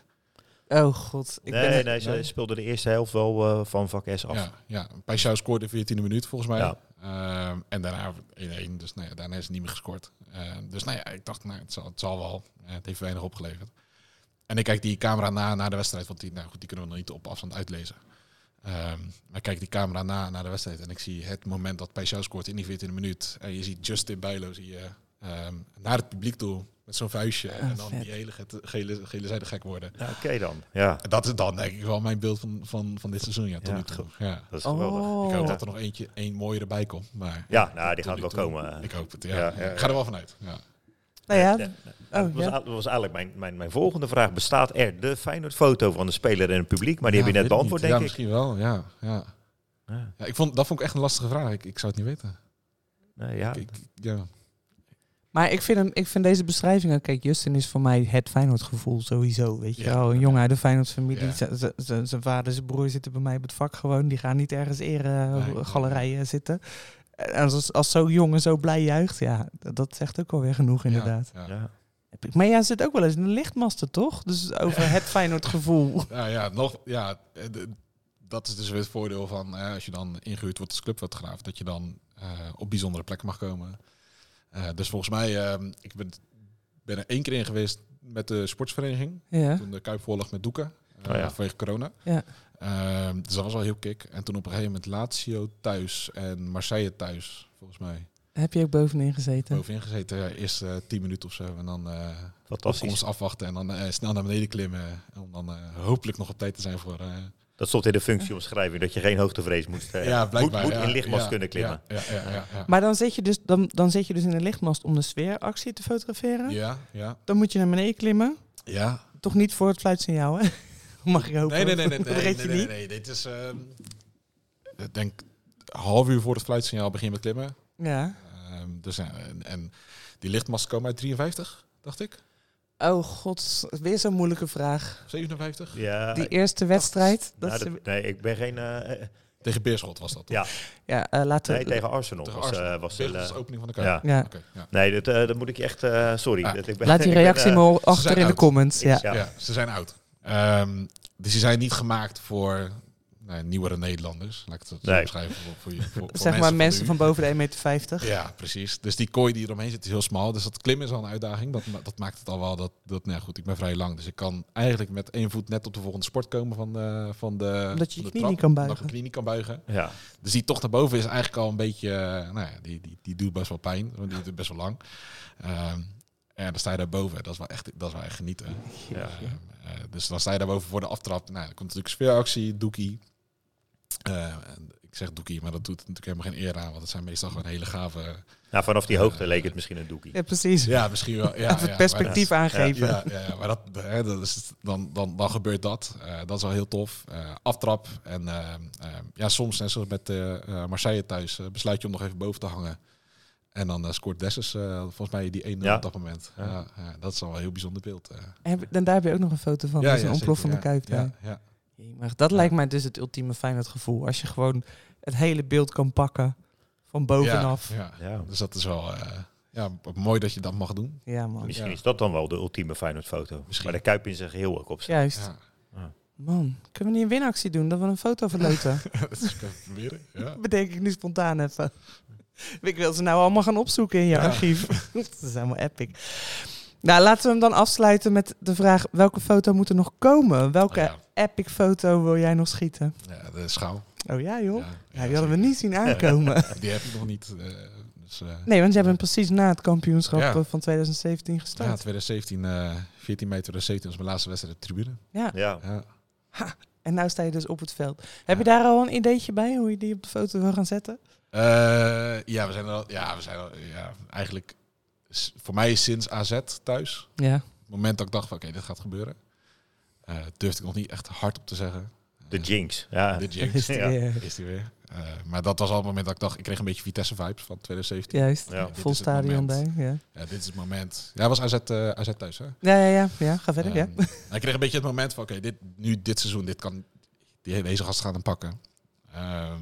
Speaker 5: Oh god. Ik
Speaker 6: nee,
Speaker 5: ben
Speaker 6: nee, ze
Speaker 7: Nee.
Speaker 6: speelden de eerste helft wel eh, van vak S af.
Speaker 7: Ja, ja. Peixau scoorde 14e minuut volgens mij.
Speaker 6: Ja.
Speaker 7: Ehm, en daarna 1-1, dus nou ja, daarna is het niet meer gescoord. Ehm, dus nou ja, ik dacht, nou, het, zal, het zal wel. Eh, het heeft weinig opgeleverd. En ik kijk die camera na naar de wedstrijd, want die, nou goed, die kunnen we nog niet op afstand uitlezen. Ehm, maar ik kijk die camera na naar de wedstrijd en ik zie het moment dat Peixau scoort in die 14e minuut. En je ziet Justin Bijlo zie je, ehm, naar het publiek toe met zo'n vuistje. en dan
Speaker 5: vet.
Speaker 7: die hele get- gele, gele zijde gek worden.
Speaker 6: Ja, Oké dan. Ja,
Speaker 7: En dat is dan denk ik wel mijn beeld van, van, van dit seizoen. Ja, tot
Speaker 6: Ja,
Speaker 7: nu toe. Ja.
Speaker 6: dat is geweldig.
Speaker 7: Ik
Speaker 5: Oh.
Speaker 7: hoop dat er nog eentje, één mooier erbij komt. Maar
Speaker 6: Ja, nou, die
Speaker 7: tot
Speaker 6: gaat
Speaker 7: nu
Speaker 6: wel
Speaker 7: toe-
Speaker 6: komen.
Speaker 7: Ik hoop het, ja.
Speaker 6: Ja, ja,
Speaker 7: Ja,
Speaker 6: ja.
Speaker 7: Ik ga er wel vanuit. Ja.
Speaker 5: Nou ja.
Speaker 6: Ja, dat,
Speaker 5: Oh,
Speaker 6: was,
Speaker 5: ja.
Speaker 6: Eh, dat was eigenlijk mijn, mijn, mijn volgende vraag. Bestaat er de Feyenoord-foto van de speler en het publiek? Maar die
Speaker 7: Ja,
Speaker 6: heb je net
Speaker 7: weet ik
Speaker 6: beantwoord,
Speaker 7: niet. ja,
Speaker 6: denk ik.
Speaker 7: misschien wel, ja. ja.
Speaker 6: Ja.
Speaker 7: Ja, ik vond, dat vond ik echt een lastige vraag. Ik, ik zou het niet weten.
Speaker 6: Nee, ja.
Speaker 7: Ik, ja.
Speaker 5: Maar ik vind, hem, ik vind deze beschrijving ook... Kijk, Justin is voor mij het Feyenoord-gevoel sowieso, weet je
Speaker 7: Ja.
Speaker 5: wel. Een jongen uit de Feyenoord-familie.
Speaker 7: Ja.
Speaker 5: Z- z- z- Zijn vader, zijn broer zitten bij mij op het vak gewoon. Die gaan niet ergens
Speaker 7: Nee.
Speaker 5: eregalerijen zitten. En als, als zo'n jongen zo blij juicht, ja, dat, dat zegt ook alweer genoeg inderdaad.
Speaker 7: Ja, ja.
Speaker 6: Ja.
Speaker 5: Heb ik- Maar jij zit ook wel eens in de lichtmasten, toch? Dus over het Feyenoord-gevoel.
Speaker 7: Ja, ja, nog, ja eh, d- dat is dus weer het voordeel van eh, als je dan ingehuurd wordt als clubfotograaf. Dat je dan eh, op bijzondere plekken mag komen. Eh, dus volgens mij, eh, ik ben, ben er één keer in geweest met de sportsvereniging.
Speaker 5: ja.
Speaker 7: toen de Kuip vol lag met doeken. eh,
Speaker 6: Oh ja.
Speaker 7: Vanwege corona.
Speaker 5: Ja.
Speaker 7: Ehm, dus dat was wel heel kick. En toen op een gegeven moment Lazio thuis en Marseille thuis, volgens mij.
Speaker 5: Heb je ook bovenin gezeten?
Speaker 7: Bovenin gezeten, ja, eerst eh, 10 minuten of zo. En dan eh
Speaker 6: Fantastisch.
Speaker 7: opkomst afwachten en dan eh, snel naar beneden klimmen. Om dan eh, hopelijk nog op tijd te zijn voor... eh,
Speaker 6: Dat stond in de functieomschrijving, dat je geen hoogtevrees moest, eh, moet, moet
Speaker 7: ja,
Speaker 6: in lichtmast
Speaker 7: ja,
Speaker 6: kunnen klimmen.
Speaker 7: Ja, ja, ja. ja, ja.
Speaker 5: Maar dan zit, je dus, dan, dan zit je dus in een lichtmast om de sfeeractie te fotograferen.
Speaker 7: Ja, ja,
Speaker 5: Dan moet je naar beneden klimmen.
Speaker 7: ja.
Speaker 5: Toch niet voor het fluitsignaal, hè? Mag je hopen.
Speaker 7: Nee, nee, nee. nee,
Speaker 5: Dat
Speaker 7: nee,
Speaker 5: red je
Speaker 7: nee,
Speaker 5: niet.
Speaker 7: nee, nee, Dit is... ehm, ik denk half uur voor het fluitsignaal begin je met klimmen.
Speaker 5: Ja.
Speaker 7: Ehm, dus, ja, en, en die lichtmasten komen uit 53, dacht ik.
Speaker 5: Oh god, weer zo'n moeilijke vraag.
Speaker 7: 57?
Speaker 6: Ja,
Speaker 5: Die eerste wedstrijd. Dat
Speaker 6: nou,
Speaker 5: ze-
Speaker 6: dat- nee, ik ben geen... eh, eh,
Speaker 7: Tegen Beerschot was dat.
Speaker 6: Ja,
Speaker 5: ja, eh, laten
Speaker 6: nee,
Speaker 5: we...
Speaker 6: tegen Arsenal.
Speaker 7: Tegen
Speaker 6: was, eh,
Speaker 7: Arsenal.
Speaker 6: was,
Speaker 7: Beerschot
Speaker 6: eh,
Speaker 7: was de opening van de
Speaker 6: ja.
Speaker 7: kaart.
Speaker 5: ja.
Speaker 7: Oké, ja.
Speaker 6: Nee, dat, eh, dat moet ik echt... eh, sorry.
Speaker 7: Ja.
Speaker 6: Dat, ik ben,
Speaker 5: Laat die
Speaker 6: ik ben,
Speaker 5: reactie
Speaker 6: eh,
Speaker 5: maar
Speaker 7: ze
Speaker 5: achter
Speaker 7: zijn
Speaker 5: in de
Speaker 7: oud.
Speaker 5: comments. Ja.
Speaker 6: Ja.
Speaker 7: Ja. ze zijn oud. Ehm, dus die zijn niet gemaakt voor nou, nieuwere Nederlanders. Laat ik het zo
Speaker 6: Nee.
Speaker 7: beschrijven. Voor, voor, je- voor, voor
Speaker 5: zeg maar mensen
Speaker 7: nu.
Speaker 5: van boven de 1,50 meter.
Speaker 7: Ja, precies. Dus die kooi die eromheen zit is heel smal. Dus dat klimmen is al een uitdaging. Dat, ma- dat maakt het al wel dat... dat nou ja, goed, ik ben vrij lang. Dus ik kan eigenlijk met één voet net op de volgende sport komen van de, van de
Speaker 5: Omdat je je
Speaker 7: van de
Speaker 5: knie
Speaker 7: trap.
Speaker 5: niet kan
Speaker 7: Omdat ik
Speaker 5: buigen.
Speaker 7: mijn knie niet kan buigen.
Speaker 6: Ja,
Speaker 7: Dus die tocht naar boven is eigenlijk al een beetje, eh, nou ja, die, die, die doet best wel pijn, want die doet best wel lang. Ehm, en dan sta je daar boven, dat is wel echt, dat is wel echt genieten. Ehm, eh, dus dan sta je daar boven voor de aftrap. Nou, dan komt natuurlijk sfeeractie, doekie. Eh, en ik zeg doekie, maar dat doet natuurlijk helemaal geen eer aan, want het zijn meestal gewoon hele gave...
Speaker 6: nou, vanaf die hoogte leek het misschien een doekie.
Speaker 5: Ja, precies.
Speaker 7: Ja, misschien wel. Ja,
Speaker 5: Even
Speaker 7: ja,
Speaker 5: het perspectief aangeven.
Speaker 7: ja, ja, ja, maar dat, hè, dat is, dan, dan, dan gebeurt dat. Eh, dat is wel heel tof. Eh, aftrap. En ehm, ehm, ja, soms, net zoals met eh, eh, Marseille thuis, eh, besluit je om nog even boven te hangen. En dan eh, scoort Dessers eh, volgens mij die 1-0
Speaker 6: Ja.
Speaker 7: op dat moment. Ja. ja, dat is wel een heel bijzonder beeld. eh.
Speaker 5: Heb- En daar heb je ook nog een foto van.
Speaker 7: Ja,
Speaker 5: Ja,
Speaker 7: ja,
Speaker 5: een ontploffende
Speaker 7: zeker, ja.
Speaker 5: kuip. daar.
Speaker 7: Ja, ja.
Speaker 5: Jee, Maar dat lijkt mij dus het ultieme Feyenoord gevoel. Als je gewoon het hele beeld kan pakken van bovenaf. Ja,
Speaker 7: Ja, ja.
Speaker 6: Ja.
Speaker 7: Dus dat is wel eh, ja, mooi dat je dat mag doen.
Speaker 5: man.
Speaker 6: Misschien
Speaker 7: Ja.
Speaker 6: is dat dan wel de ultieme Feyenoord-foto.
Speaker 7: Misschien.
Speaker 6: Maar de Kuip in zijn geheel ook op staat.
Speaker 5: Juist.
Speaker 7: Ja,
Speaker 5: Man, kunnen we niet een winactie doen dat we een foto verloten?
Speaker 7: dat is Dus ik even proberen. Ja.
Speaker 5: Bedenk ik nu spontaan even. Ik wil ze nou allemaal gaan opzoeken in je
Speaker 7: Ja.
Speaker 5: archief. dat is helemaal epic. Nou, laten we hem dan afsluiten met de vraag: welke foto moet er nog komen? Welke
Speaker 7: Oh, Ja.
Speaker 5: epic foto wil jij nog schieten?
Speaker 7: Ah, ja, de schouw.
Speaker 5: Oh ja, joh.
Speaker 7: Ja,
Speaker 5: Ja,
Speaker 7: ja,
Speaker 5: die hadden we
Speaker 7: zeker.
Speaker 5: niet zien aankomen.
Speaker 7: Die heb ik nog niet. eh, dus, eh,
Speaker 5: Nee, want jij bent precies na het kampioenschap
Speaker 7: Ja.
Speaker 5: eh, van 2017 gestart.
Speaker 7: Ja, 2017, eh 14 mei 2017 was mijn laatste wedstrijd op de tribune.
Speaker 6: Ja.
Speaker 7: Ja.
Speaker 5: En nu sta je dus op het veld. Heb je daar al een ideetje bij hoe je die op de foto wil gaan zetten?
Speaker 7: Eh, ja, we zijn er al, ja, we zijn er al, ja, eigenlijk s- voor mij is sinds AZ thuis.
Speaker 5: Ja.
Speaker 7: Het moment dat ik dacht van oké, dit gaat gebeuren. Eh, Eh durfde ik nog niet echt hard op te zeggen.
Speaker 6: De Jinx. Ja.
Speaker 7: De jinx
Speaker 5: Is die,
Speaker 6: Ja.
Speaker 5: eh,
Speaker 7: is die weer. Eh, maar dat was al het moment dat ik dacht, ik kreeg een beetje Vitesse-vibes van 2017.
Speaker 5: juist.
Speaker 6: Ja.
Speaker 7: Dit
Speaker 5: Vol
Speaker 7: is het
Speaker 5: stadion
Speaker 7: moment.
Speaker 5: bij. Ja.
Speaker 7: Ja, dit is het moment. Ja, was AZ, eh, AZ thuis, hè?
Speaker 5: Ja, ja, ja, ja, ga verder. ja.
Speaker 7: Ehm, hij kreeg een beetje het moment van, oké, dit, nu dit seizoen, dit kan, die, deze gast gaat hem pakken. Ehm,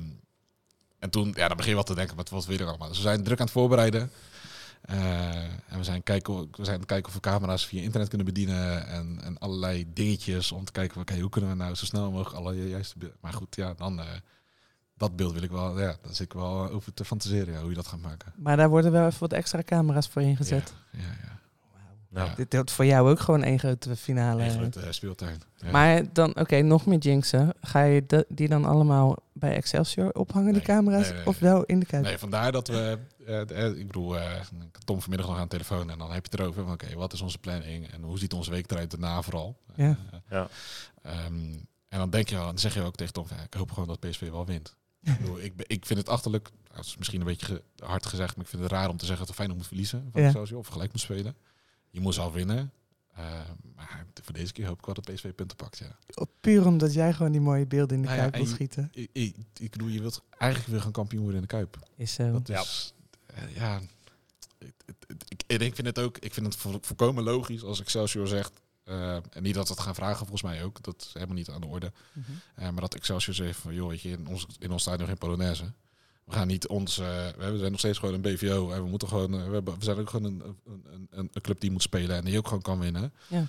Speaker 7: en toen, ja, dan begin je wat te denken, wat, wat wil je er allemaal? Dus we zijn druk aan het voorbereiden. Eh, en we zijn, kijken, of- we zijn aan het kijken of we camera's via internet kunnen bedienen. En, en allerlei dingetjes om te kijken, van, oké, hoe kunnen we nou zo snel mogelijk alle ju- juiste beelden- Maar goed, ja, dan... eh, dat beeld wil ik wel, ja, daar zit ik wel over te fantaseren, ja, hoe je dat gaat maken.
Speaker 5: Maar daar worden wel even wat extra camera's voor ingezet.
Speaker 7: Ja, ja.
Speaker 6: Nou,
Speaker 7: Ja.
Speaker 5: Dit wordt voor jou ook gewoon één grote finale.
Speaker 7: Echt het eh, speeltuin. Ja.
Speaker 5: Maar dan, oké, nog meer jinxen. Ga je de- die dan allemaal bij Excelsior ophangen, die
Speaker 7: Nee,
Speaker 5: camera's?
Speaker 7: nee, nee,
Speaker 5: of wel in de kuip?
Speaker 7: Nee, vandaar dat we. eh, eh, ik bedoel, eh, ik had Tom vanmiddag nog aan de telefoon en dan heb je het erover. van, Oké, wat is onze planning en hoe ziet onze week eruit daarna vooral?
Speaker 5: Ja.
Speaker 7: Eh,
Speaker 6: Ja.
Speaker 7: ehm, en dan denk je wel, dan zeg je ook tegen Tom, van, ja, ik hoop gewoon dat PSV wel wint. ik, bedoel, ik, ben- ik vind het achterlijk, nou, dat is misschien een beetje ge- hard gezegd, maar ik vind het raar om te zeggen dat Feyenoord moet verliezen van
Speaker 5: Ja.
Speaker 7: Excelsior of gelijk moet spelen. Je moet al winnen. Eh, maar voor deze keer hoop ik wel dat PSV punten pakt. Ja.
Speaker 5: Puur omdat jij gewoon die mooie beelden in de
Speaker 7: Nou ja,
Speaker 5: kuip wil
Speaker 7: en-
Speaker 5: schieten.
Speaker 7: Ik, ik, ik bedoel, je wilt eigenlijk weer gaan kampioen worden in de Kuip.
Speaker 5: Is zo.
Speaker 7: Dat is, eh, ja. Ik, ik, ik- ik vind het ook, ik vind het vo- volkomen logisch als Excelsior zegt, eh, en niet dat we het gaan vragen volgens mij ook, dat is helemaal niet aan de orde,
Speaker 5: Mhm.
Speaker 7: Eh, maar dat Excelsior zegt van, joh, weet je, in ons, in ons stadion geen Polonaise. We gaan niet ons, eh, we hebben- we zijn nog steeds gewoon een BVO en we moeten gewoon, eh, we, hebben, we zijn ook gewoon een, een, een, een- een club die moet spelen en die ook gewoon kan winnen.
Speaker 6: ja.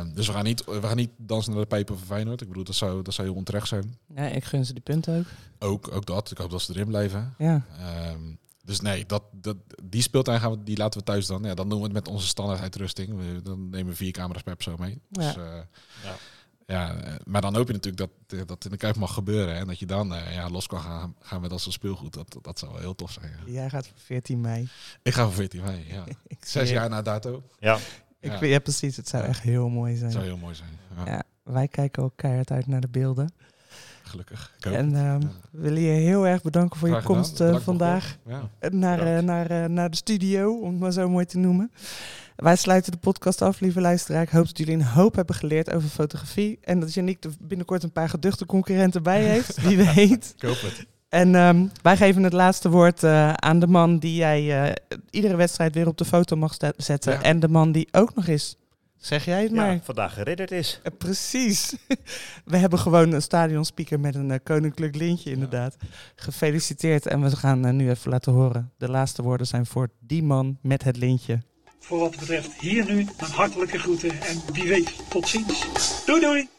Speaker 7: Eh, dus we gaan, niet, we gaan niet dansen naar de pijpen van Feyenoord. Ik bedoel, dat zou, dat zou heel onterecht zijn.
Speaker 5: Ja, ik gun ze die punten ook.
Speaker 7: Ook, ook dat, ik hoop dat ze erin blijven.
Speaker 5: Ja.
Speaker 7: Ehm, dus nee, dat, dat, die speeltuin gaan we, die laten we thuis dan. Ja, dan doen we het met onze standaard uitrusting. We, dan nemen we vier camera's per persoon mee. Dus, eh,
Speaker 6: Ja.
Speaker 7: ja. eh, maar dan hoop je natuurlijk dat eh, dat in de Kuip mag gebeuren. hè. En dat je dan eh, ja, los kan gaan, gaan met dat soort speelgoed. Dat, dat, dat zou wel heel tof zijn. ja.
Speaker 5: Jij gaat voor 14 mei.
Speaker 7: Ik ga voor 14 mei. Ja.
Speaker 5: Ik
Speaker 7: Zes
Speaker 5: zie het.
Speaker 7: jaar na dato.
Speaker 6: ja.
Speaker 5: Ik
Speaker 7: Ja.
Speaker 5: vind, ja, precies. Het zou
Speaker 7: Ja.
Speaker 5: echt heel mooi zijn.
Speaker 7: Dat zou heel mooi zijn. Ja,
Speaker 5: Ja. Wij kijken ook keihard uit naar de beelden.
Speaker 7: Gelukkig. Ik hoop
Speaker 5: en ehm
Speaker 7: het. Ja.
Speaker 5: willen je heel erg bedanken voor
Speaker 7: Graag
Speaker 5: je
Speaker 7: gedaan.
Speaker 5: komst eh,
Speaker 7: Bedankt voor
Speaker 5: vandaag.
Speaker 7: het woord. Ja.
Speaker 5: naar, eh,
Speaker 6: Bedankt.
Speaker 5: naar, eh, naar de studio, om het maar zo mooi te noemen. Wij sluiten de podcast af, lieve luisteraar. Ik hoop dat jullie een hoop hebben geleerd over fotografie. En dat Yannick er binnenkort een paar geduchte concurrenten bij heeft, wie weet.
Speaker 7: Ik hoop het.
Speaker 5: En ehm, wij geven het laatste woord eh, aan de man die jij eh, iedere wedstrijd weer op de foto mag sta- zetten.
Speaker 7: Ja.
Speaker 5: En de man die ook nog eens, zeg jij het maar.
Speaker 6: Ja, vandaag geridderd is.
Speaker 5: Eh, Precies. We hebben gewoon een stadionspeaker met een eh, koninklijk lintje,
Speaker 7: Ja.
Speaker 5: inderdaad. Gefeliciteerd. En we gaan eh, nu even laten horen. De laatste woorden zijn voor die man met het lintje.
Speaker 8: Voor wat betreft hier nu een hartelijke groeten en wie weet tot ziens. Doei doei!